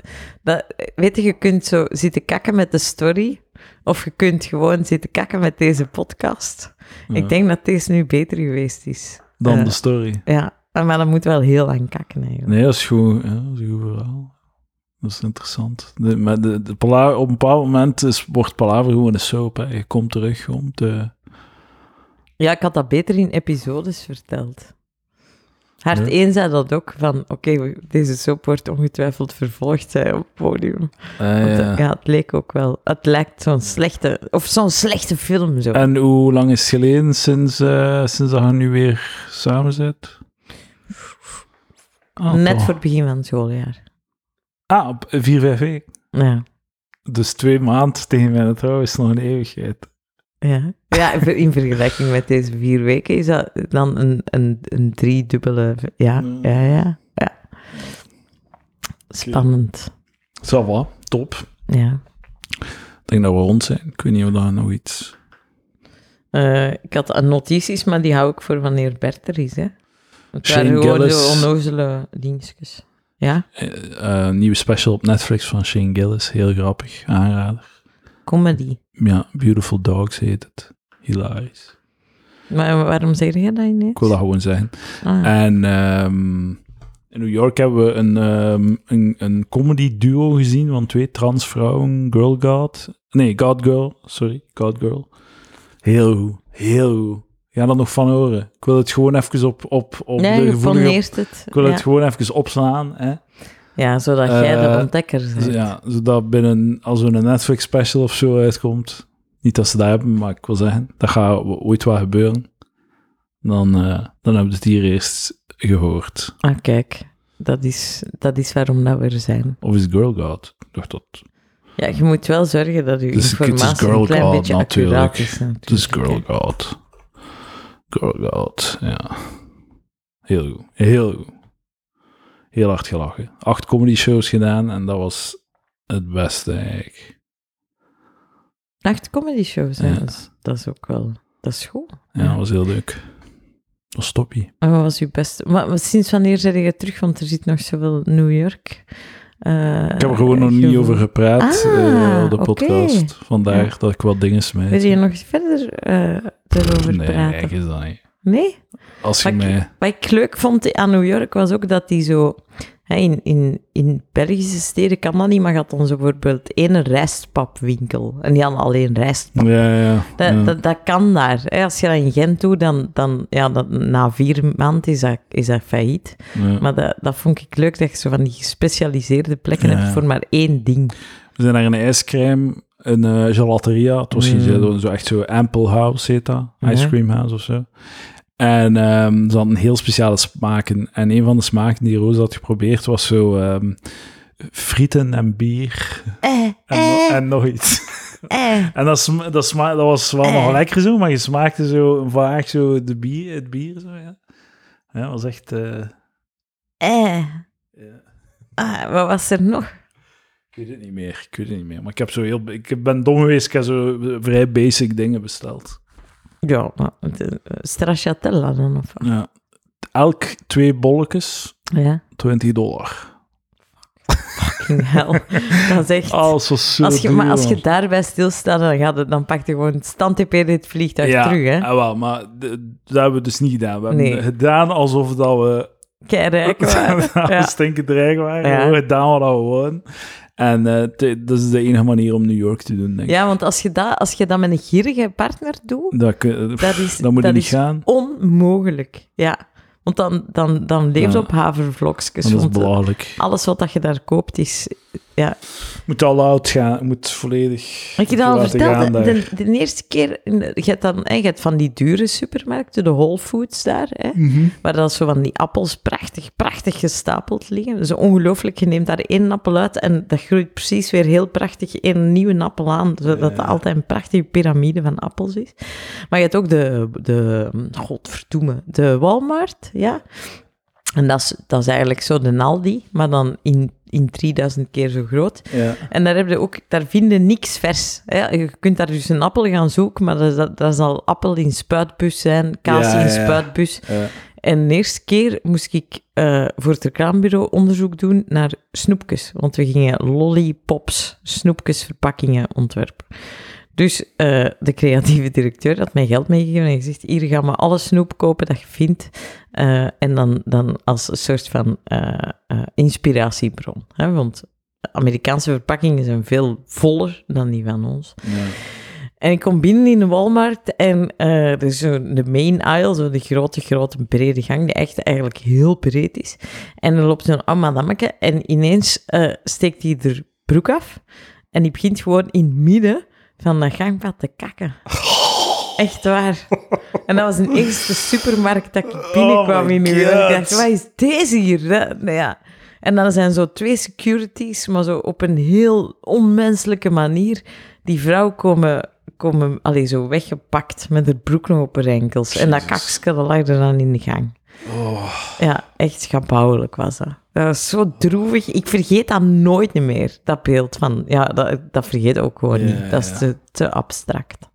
S2: dat, weet je, je kunt zo zitten kakken met de story. Of je kunt gewoon zitten kakken met deze podcast.
S1: Ja.
S2: Ik denk dat deze nu beter geweest is.
S1: Dan
S2: Eh,
S1: de story.
S2: Ja, Maar dat moet wel heel lang kakken eigenlijk.
S1: Nee, dat is goed. Ja, dat is een goed verhaal. Dat is interessant. De, maar de, de Pala- op een bepaald moment is, wordt Palaver gewoon een soap. Hè. Je komt terug om te...
S2: Ja, ik had dat beter in episodes verteld. Hart
S1: Ja.
S2: 1 zei dat ook, van oké, we- deze soap wordt ongetwijfeld vervolgd zei hij, op het podium.
S1: Eh,
S2: Want,
S1: ja.
S2: eh, ja, het leek ook wel. Het lijkt zo'n slechte, of zo'n slechte film zo.
S1: En hoe lang is het geleden sinds, eh, sinds dat je nu weer samen zit? Ah,
S2: Net
S1: toch.
S2: voor het begin van het schooljaar.
S1: Ah, op 4 5
S2: Ja.
S1: Dus twee maanden tegen mijn trouw is nog een eeuwigheid.
S2: Ja, ja in ver- in vergelijking met deze vier weken is dat dan een, een, een driedubbele... Ja,
S1: Ja.
S2: ja, ja. ja. Spannend.
S1: Ça va, top.
S2: Ja.
S1: Ik denk dat we rond zijn. Ik weet niet of daar nog iets...
S2: Eh, ik had notities, maar die hou ik voor wanneer Bert er is. Hè. Het
S1: Shane
S2: waren gewoon
S1: Gillis.
S2: de onnozele dingetjes. Ja,
S1: Eh, eh, nieuwe special op Netflix van Shane Gillis. Heel grappig, aanrader.
S2: comedy.
S1: Ja, Beautiful Dogs heet het. Hilarisch.
S2: Maar waarom zeg je dat ineens?
S1: Ik wil dat gewoon zeggen.
S2: Ah,
S1: En ehm, in New York hebben we een, ehm, een, een comedy duo gezien van twee transvrouwen, Girl God. Nee, God Girl, sorry, God Girl. Heel goed, heel goed. Ga dat nog van horen. Ik wil het gewoon even op, op, op
S2: nee,
S1: de
S2: je
S1: gevoelige...
S2: poneert het.
S1: ik wil
S2: ja.
S1: het gewoon even opslaan, hè.
S2: ja, zodat jij
S1: Eh,
S2: de ontdekker bent.
S1: Dus ja, zodat binnen, als er een Netflix special of zo uitkomt, niet dat ze dat hebben, maar ik wil zeggen, dat gaat o- ooit wel gebeuren. Dan, eh, dan hebben we het hier eerst gehoord.
S2: Ah, kijk. Dat is, dat is waarom dat we er zijn.
S1: Of is het Girl God? Ik dacht dat.
S2: Ja, je moet wel zorgen dat je
S1: Dus het is
S2: informatie
S1: girl
S2: een klein
S1: god,
S2: beetje
S1: natuurlijk.
S2: accuraat is. Natuurlijk.
S1: Het is Girl
S2: hè.
S1: God. Girl God, ja. Heel goed. Heel goed. Heel hard gelachen. Acht comedy shows gedaan en dat was het beste eigenlijk.
S2: Acht comedy shows, hè,
S1: Ja.
S2: dat, is, dat is ook wel... Dat is goed.
S1: Ja, dat was heel leuk. Dat was toppie.
S2: En wat was uw beste... Maar, maar sinds wanneer zijn je terug? Want er zit nog zoveel New York... eh,
S1: Ik heb er gewoon nog
S2: gevoel.
S1: niet over gepraat
S2: Ah,
S1: eh, op de
S2: oké.
S1: podcast. Vandaar
S2: Ja.
S1: dat ik wat dingen
S2: Wil
S1: smijt.
S2: je nog verder eh, erover
S1: Nee,
S2: praten?
S1: eigenlijk is dat niet.
S2: Nee?
S1: Als je
S2: Maar ik-
S1: mij...
S2: Wat ik leuk vond aan New York was ook dat die zo... hè, in, in, in Belgische steden kan dat niet, maar gaat dan zo bijvoorbeeld één rijstpapwinkel. En die hadden alleen rijst.
S1: Ja, ja, ja.
S2: Dat, dat, dat kan daar. Hè. Als je dat in Gent doet, dan, dan ja, dat, na vier maanden is dat, is dat failliet.
S1: ja.
S2: Maar dat, dat vond ik leuk, dat je zo van die gespecialiseerde plekken
S1: Ja.
S2: hebt voor maar één ding.
S1: We zijn naar een ijscrème, een eh, gelateria. Het was geen
S2: Mm.
S1: gelato, zo echt zo Ample House heet dat.
S2: Ja.
S1: Ice Cream House of zo. En ehm ze hadden heel speciale smaken. En een van de smaken die Roos had geprobeerd was zo ehm, frieten en bier.
S2: Eh,
S1: En,
S2: eh,
S1: no- en nog iets.
S2: eh.
S1: En dat, sma- dat, sma- dat was wel nog lekker zo, maar je smaakte zo vaak zo de bier, het bier. Zo, ja. ja, dat was echt... eh,
S2: Eh.
S1: Ja.
S2: Ah, wat was er nog?
S1: Ik weet het niet meer, ik weet het niet meer. Maar ik, heb zo heel, ik ben dom geweest, ik heb zo vrij basic dingen besteld.
S2: Ja, maar het, eh, stracciatella dan of wat?
S1: Ja. Elk twee bolletjes,
S2: Ja,
S1: 20 dollar.
S2: fucking hell. Dat is echt...
S1: Alles was zo
S2: als je,
S1: duur,
S2: maar als je
S1: man.
S2: daarbij stilstaat, dan, gaat het, dan pak je gewoon standtp dit vliegtuig
S1: ja,
S2: terug, hè.
S1: ah, wel, maar de- dat hebben we dus niet gedaan. We hebben
S2: Nee.
S1: gedaan alsof dat we,
S2: Keirijk,
S1: dat we
S2: Ja.
S1: stinkend rijk waren. We
S2: Ja.
S1: hebben gedaan wat we wonen. En eh, te- dat is de enige manier om New York te doen, denk ik.
S2: Ja, want als je, dat, als je dat met een gierige partner doet,
S1: Dat, kun-
S2: dat is,
S1: dat moet je
S2: dat
S1: niet
S2: is
S1: gaan.
S2: onmogelijk. Ja, want dan, dan, dan leeft
S1: Ja.
S2: op havervlokjes.
S1: want Dat is
S2: want
S1: belachelijk.
S2: alles wat dat je daar koopt is... Ja.
S1: Je moet al out gaan. Je moet volledig...
S2: Ik je dat al
S1: laten gaan
S2: verteld,
S1: daar.
S2: de, de eerste keer, in de- je hebt, dan, hè, je hebt van die dure supermarkten, de Whole Foods daar, hè,
S1: Mhm.
S2: waar dat zo van die appels prachtig, prachtig gestapeld liggen. Dus ongelooflijk, je neemt daar één appel uit en dat groeit precies weer heel prachtig in een nieuwe appel aan, zodat
S1: Ja.
S2: dat altijd een prachtige piramide van appels is. Maar je hebt ook de, de godverdoeme, de Walmart, ja. En dat is, dat is eigenlijk zo de Aldi, maar dan in, in 3000 keer zo groot.
S1: Ja.
S2: En daar, heb je ook, daar vinden niks vers. Hè? Je kunt daar dus een appel gaan zoeken, maar dat, dat, dat zal appel in spuitbus zijn, kaas
S1: Ja,
S2: in
S1: ja.
S2: spuitbus.
S1: Ja.
S2: En de eerste keer moest ik eh, voor het reclamebureau onderzoek doen naar snoepjes. Want we gingen lollipops, snoepjesverpakkingen ontwerpen. Dus eh, de creatieve directeur had mij geld meegegeven en gezegd, hier ga maar alle snoep kopen dat je vindt. Eh, en dan, dan als een soort van eh, eh, inspiratiebron. Hè? Want Amerikaanse verpakkingen zijn veel voller dan die van ons.
S1: Ja.
S2: En ik kom binnen in de Walmart en eh, er is zo de main aisle, zo de grote, grote, brede gang, die echt eigenlijk heel breed is. En er loopt zo'n oud madammeke en ineens eh, steekt hij er broek af en die begint gewoon in het midden van dat gangpad te kakken. Echt waar. En dat was een eerste supermarkt dat ik binnenkwam
S1: Oh my
S2: in New York.
S1: God.
S2: Ik dacht, wat is deze hier? Dat- nou ja. En dan zijn zo twee securities, maar zo op een heel onmenselijke manier. Die vrouw komen, komen allee, zo weggepakt met haar broek nog op haar enkels. En dat
S1: Jezus.
S2: kakske dat lag er dan in de gang.
S1: Oh,
S2: Ja, echt schabouwelijk was dat. Dat was zo droevig. Ik vergeet dat nooit meer, dat beeld van... Ja, dat, dat vergeet ik ook gewoon
S1: Ja,
S2: niet. Dat
S1: ja.
S2: is te, te abstract.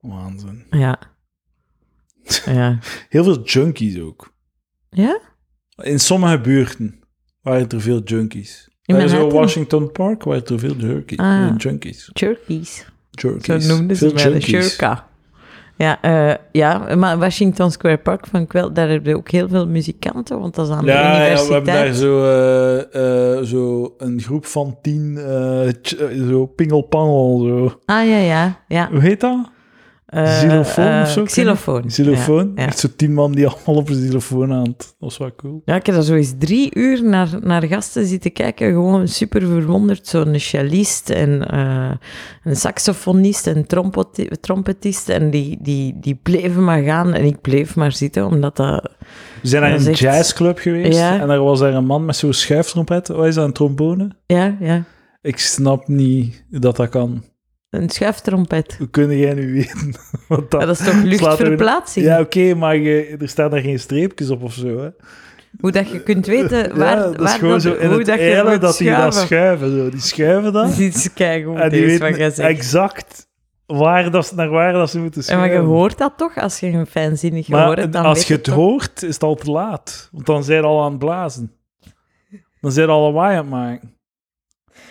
S1: waanzin.
S2: Ja. Ja.
S1: Heel veel junkies ook.
S2: Ja?
S1: In sommige buurten waren er veel junkies.
S2: In
S1: Bij zo
S2: Manhattan?
S1: Washington Park waren er veel junkies.
S2: Ah.
S1: Eh, junkies.
S2: Turkeys.
S1: Junkies.
S2: Zo noemden ze
S1: veel
S2: mij de Shurka. Ja, eh, ja, maar Washington Square Park van wel, daar hebben we ook heel veel muzikanten, want dat is aan de
S1: Ja, ja,
S2: universiteit.
S1: we hebben daar zo, eh, eh, zo een groep van tien, eh, ch- eh, zo pingelpangel, zo.
S2: Ah ja, ja, ja.
S1: Hoe heet dat?
S2: Eh,
S1: Xylofoon
S2: eh,
S1: of zo,
S2: Xylofoon.
S1: Xylofoon.
S2: Ja, ja.
S1: Echt zo tien man die allemaal op zijn xylofoon aan het... Dat is wel cool.
S2: Ja, ik heb daar zo eens drie uur naar, naar gasten zitten kijken. Gewoon super verwonderd. Zo'n cellist en eh, een saxofonist en trompeti- trompetist. En die, die, die bleven maar gaan en ik bleef maar zitten, omdat dat...
S1: We zijn naar
S2: Dat
S1: een
S2: is echt-
S1: jazzclub geweest
S2: Ja.
S1: en daar was daar een man met zo'n schuiftrompet. Wat is dat, een trombone?
S2: Ja, ja.
S1: Ik snap niet dat dat kan.
S2: Een schuiftrompet.
S1: Hoe kun jij nu weten? wat
S2: Dat is toch
S1: slaat er-
S2: luchtverplaatsing?
S1: Ja, oké, maar je, er staan daar geen streepjes op of zo, hè?
S2: Hoe dat je kunt weten waar,
S1: ja, dat is
S2: waar
S1: gewoon
S2: dat,
S1: zo in
S2: hoe
S1: het
S2: dat je
S1: eilen
S2: moet
S1: dat die dat
S2: schuiven.
S1: schuiven. Zo. Die schuiven dat
S2: Dat is iets keigoed,
S1: en die
S2: deze, wat jij
S1: weten
S2: zegt.
S1: exact waar dat, ze- naar waar dat ze moeten
S2: En maar
S1: schuiven.
S2: je hoort dat toch, als je een fijnzinnig
S1: Maar
S2: hoort hebt, dan
S1: als
S2: weet
S1: je het
S2: toch.
S1: hoort, is het al te laat. Want dan zijn ze al aan het blazen. Dan zijn ze al een waai aan het maken.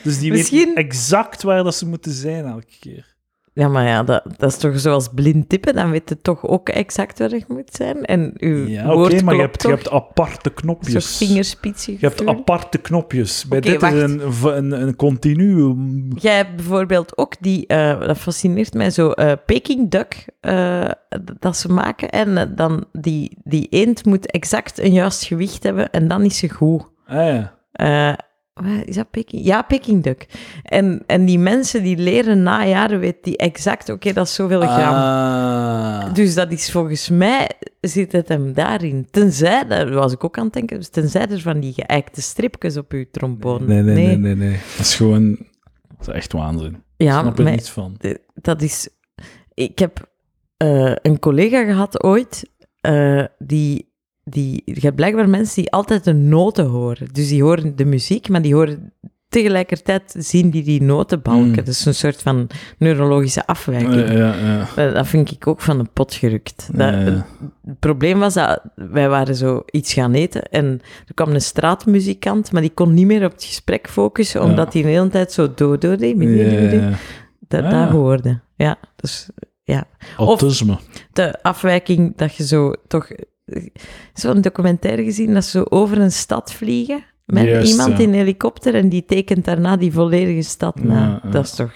S1: Dus die
S2: Misschien-
S1: weten exact waar dat ze moeten zijn elke keer.
S2: Ja, maar ja, dat, dat is toch zoals blind tippen, dan weet je toch ook exact waar je moet zijn. En je
S1: Ja, oké,
S2: woord
S1: maar je
S2: klopt
S1: hebt, je
S2: toch?
S1: hebt aparte
S2: Een soort
S1: knopjes.
S2: vingerspitsie
S1: Je hebt aparte knopjes. Bij
S2: Oké,
S1: dit
S2: wacht.
S1: is een, v- een, een continuum.
S2: Jij hebt bijvoorbeeld ook die, eh, dat fascineert mij zo, eh, Peking duck eh, d- dat ze maken. En eh, dan die, die eend moet exact een juist gewicht hebben en dan is ze goed.
S1: Ah, ja.
S2: Eh, wat is dat Peking? Ja, Peking duck. En, en die mensen die leren na jaren, weet die exact, oké, dat is zoveel gram.
S1: Ah.
S2: Dus dat is volgens mij, zit het hem daarin. Tenzij, daar was ik ook aan het denken, dus tenzij er van die geëikte stripjes op uw trombone.
S1: Nee, nee, nee, nee, nee. Dat is gewoon... Dat is echt waanzin. Ik
S2: Ja,
S1: snap er
S2: maar-
S1: niets van.
S2: de- dat is. Ik heb eh, een collega gehad ooit, eh, die, die. Je hebt blijkbaar mensen die altijd de noten horen. Dus die horen de muziek, maar die horen tegelijkertijd zien die die noten balken.
S1: Mm.
S2: Dat is een soort van neurologische afwijking.
S1: Oh,
S2: Eh,
S1: Ja, ja, ja.
S2: Dat, dat vind ik ook van de pot gerukt. Dat,
S1: Ja, ja.
S2: Het probleem was dat wij waren zo iets gaan eten en er kwam een straatmuzikant, maar die kon niet meer op het gesprek focussen, omdat
S1: Ja.
S2: hij de hele tijd zo do do de,
S1: Ja, ja, ja.
S2: dat,
S1: Ah,
S2: dat
S1: ja.
S2: hoorde. Ja, dus
S1: Autisme.
S2: de afwijking dat je zo toch... Zo'n documentaire gezien dat ze zo over een stad vliegen met
S1: Juist,
S2: iemand
S1: ja.
S2: in een helikopter en die tekent daarna die volledige stad na.
S1: Ja, ja.
S2: Dat is toch...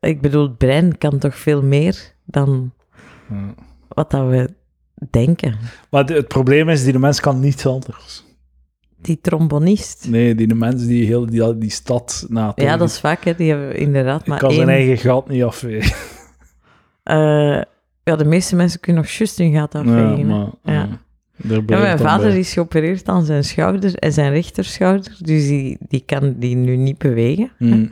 S2: Ik bedoel, het brein kan toch veel meer dan
S1: Ja.
S2: wat dat we denken.
S1: Maar de- het probleem is, die mens kan niets anders.
S2: Die trombonist.
S1: Nee, die mens die heel die, die stad na
S2: Ja, dat is vaak, hè. Die hebben inderdaad maar
S1: kan zijn
S2: één...
S1: eigen gat niet afwegen.
S2: eh, ja, de meeste mensen kunnen nog juist hun gaat afvegen.
S1: Ja,
S2: hè.
S1: maar, ja.
S2: Ja.
S1: Daar
S2: Ja,
S1: blijft
S2: mijn
S1: dan
S2: vader
S1: bij.
S2: is geopereerd aan zijn schouder en zijn rechterschouder, dus die, die kan die nu niet bewegen.
S1: Mm.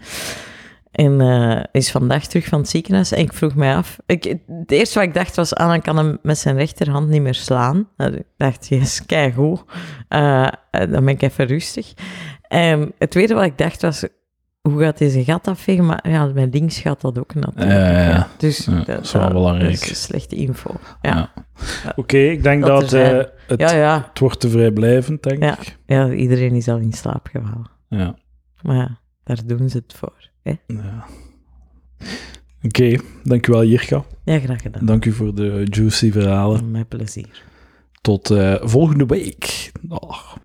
S2: En eh, is vandaag terug van het ziekenhuis en ik vroeg mij af... Ik, het eerste wat ik dacht was, ah, dan kan hem met zijn rechterhand niet meer slaan. Nou, ik dacht, yes, keigoed. Eh, eh, dan ben ik even rustig. En het tweede wat ik dacht was, hoe gaat deze gat afvegen? Maar ja, mijn links gaat dat ook natuurlijk.
S1: Ja, ja, ja.
S2: Dus
S1: Ja, dat is wel belangrijk.
S2: dat is slechte info.
S1: Ja.
S2: Ja,
S1: Oké, ik denk
S2: Dat
S1: dat,
S2: er zijn.
S1: eh, het,
S2: ja, ja.
S1: het wordt te vrijblijvend, denk
S2: Ja.
S1: ik.
S2: ja iedereen is al in slaap gevallen.
S1: Ja.
S2: Maar ja, daar doen ze het voor. Hè?
S1: ja. Oké, dankjewel Jirka.
S2: Ja, graag gedaan.
S1: Dank u voor de juicy verhalen.
S2: Met plezier.
S1: Tot eh, volgende week. Dag.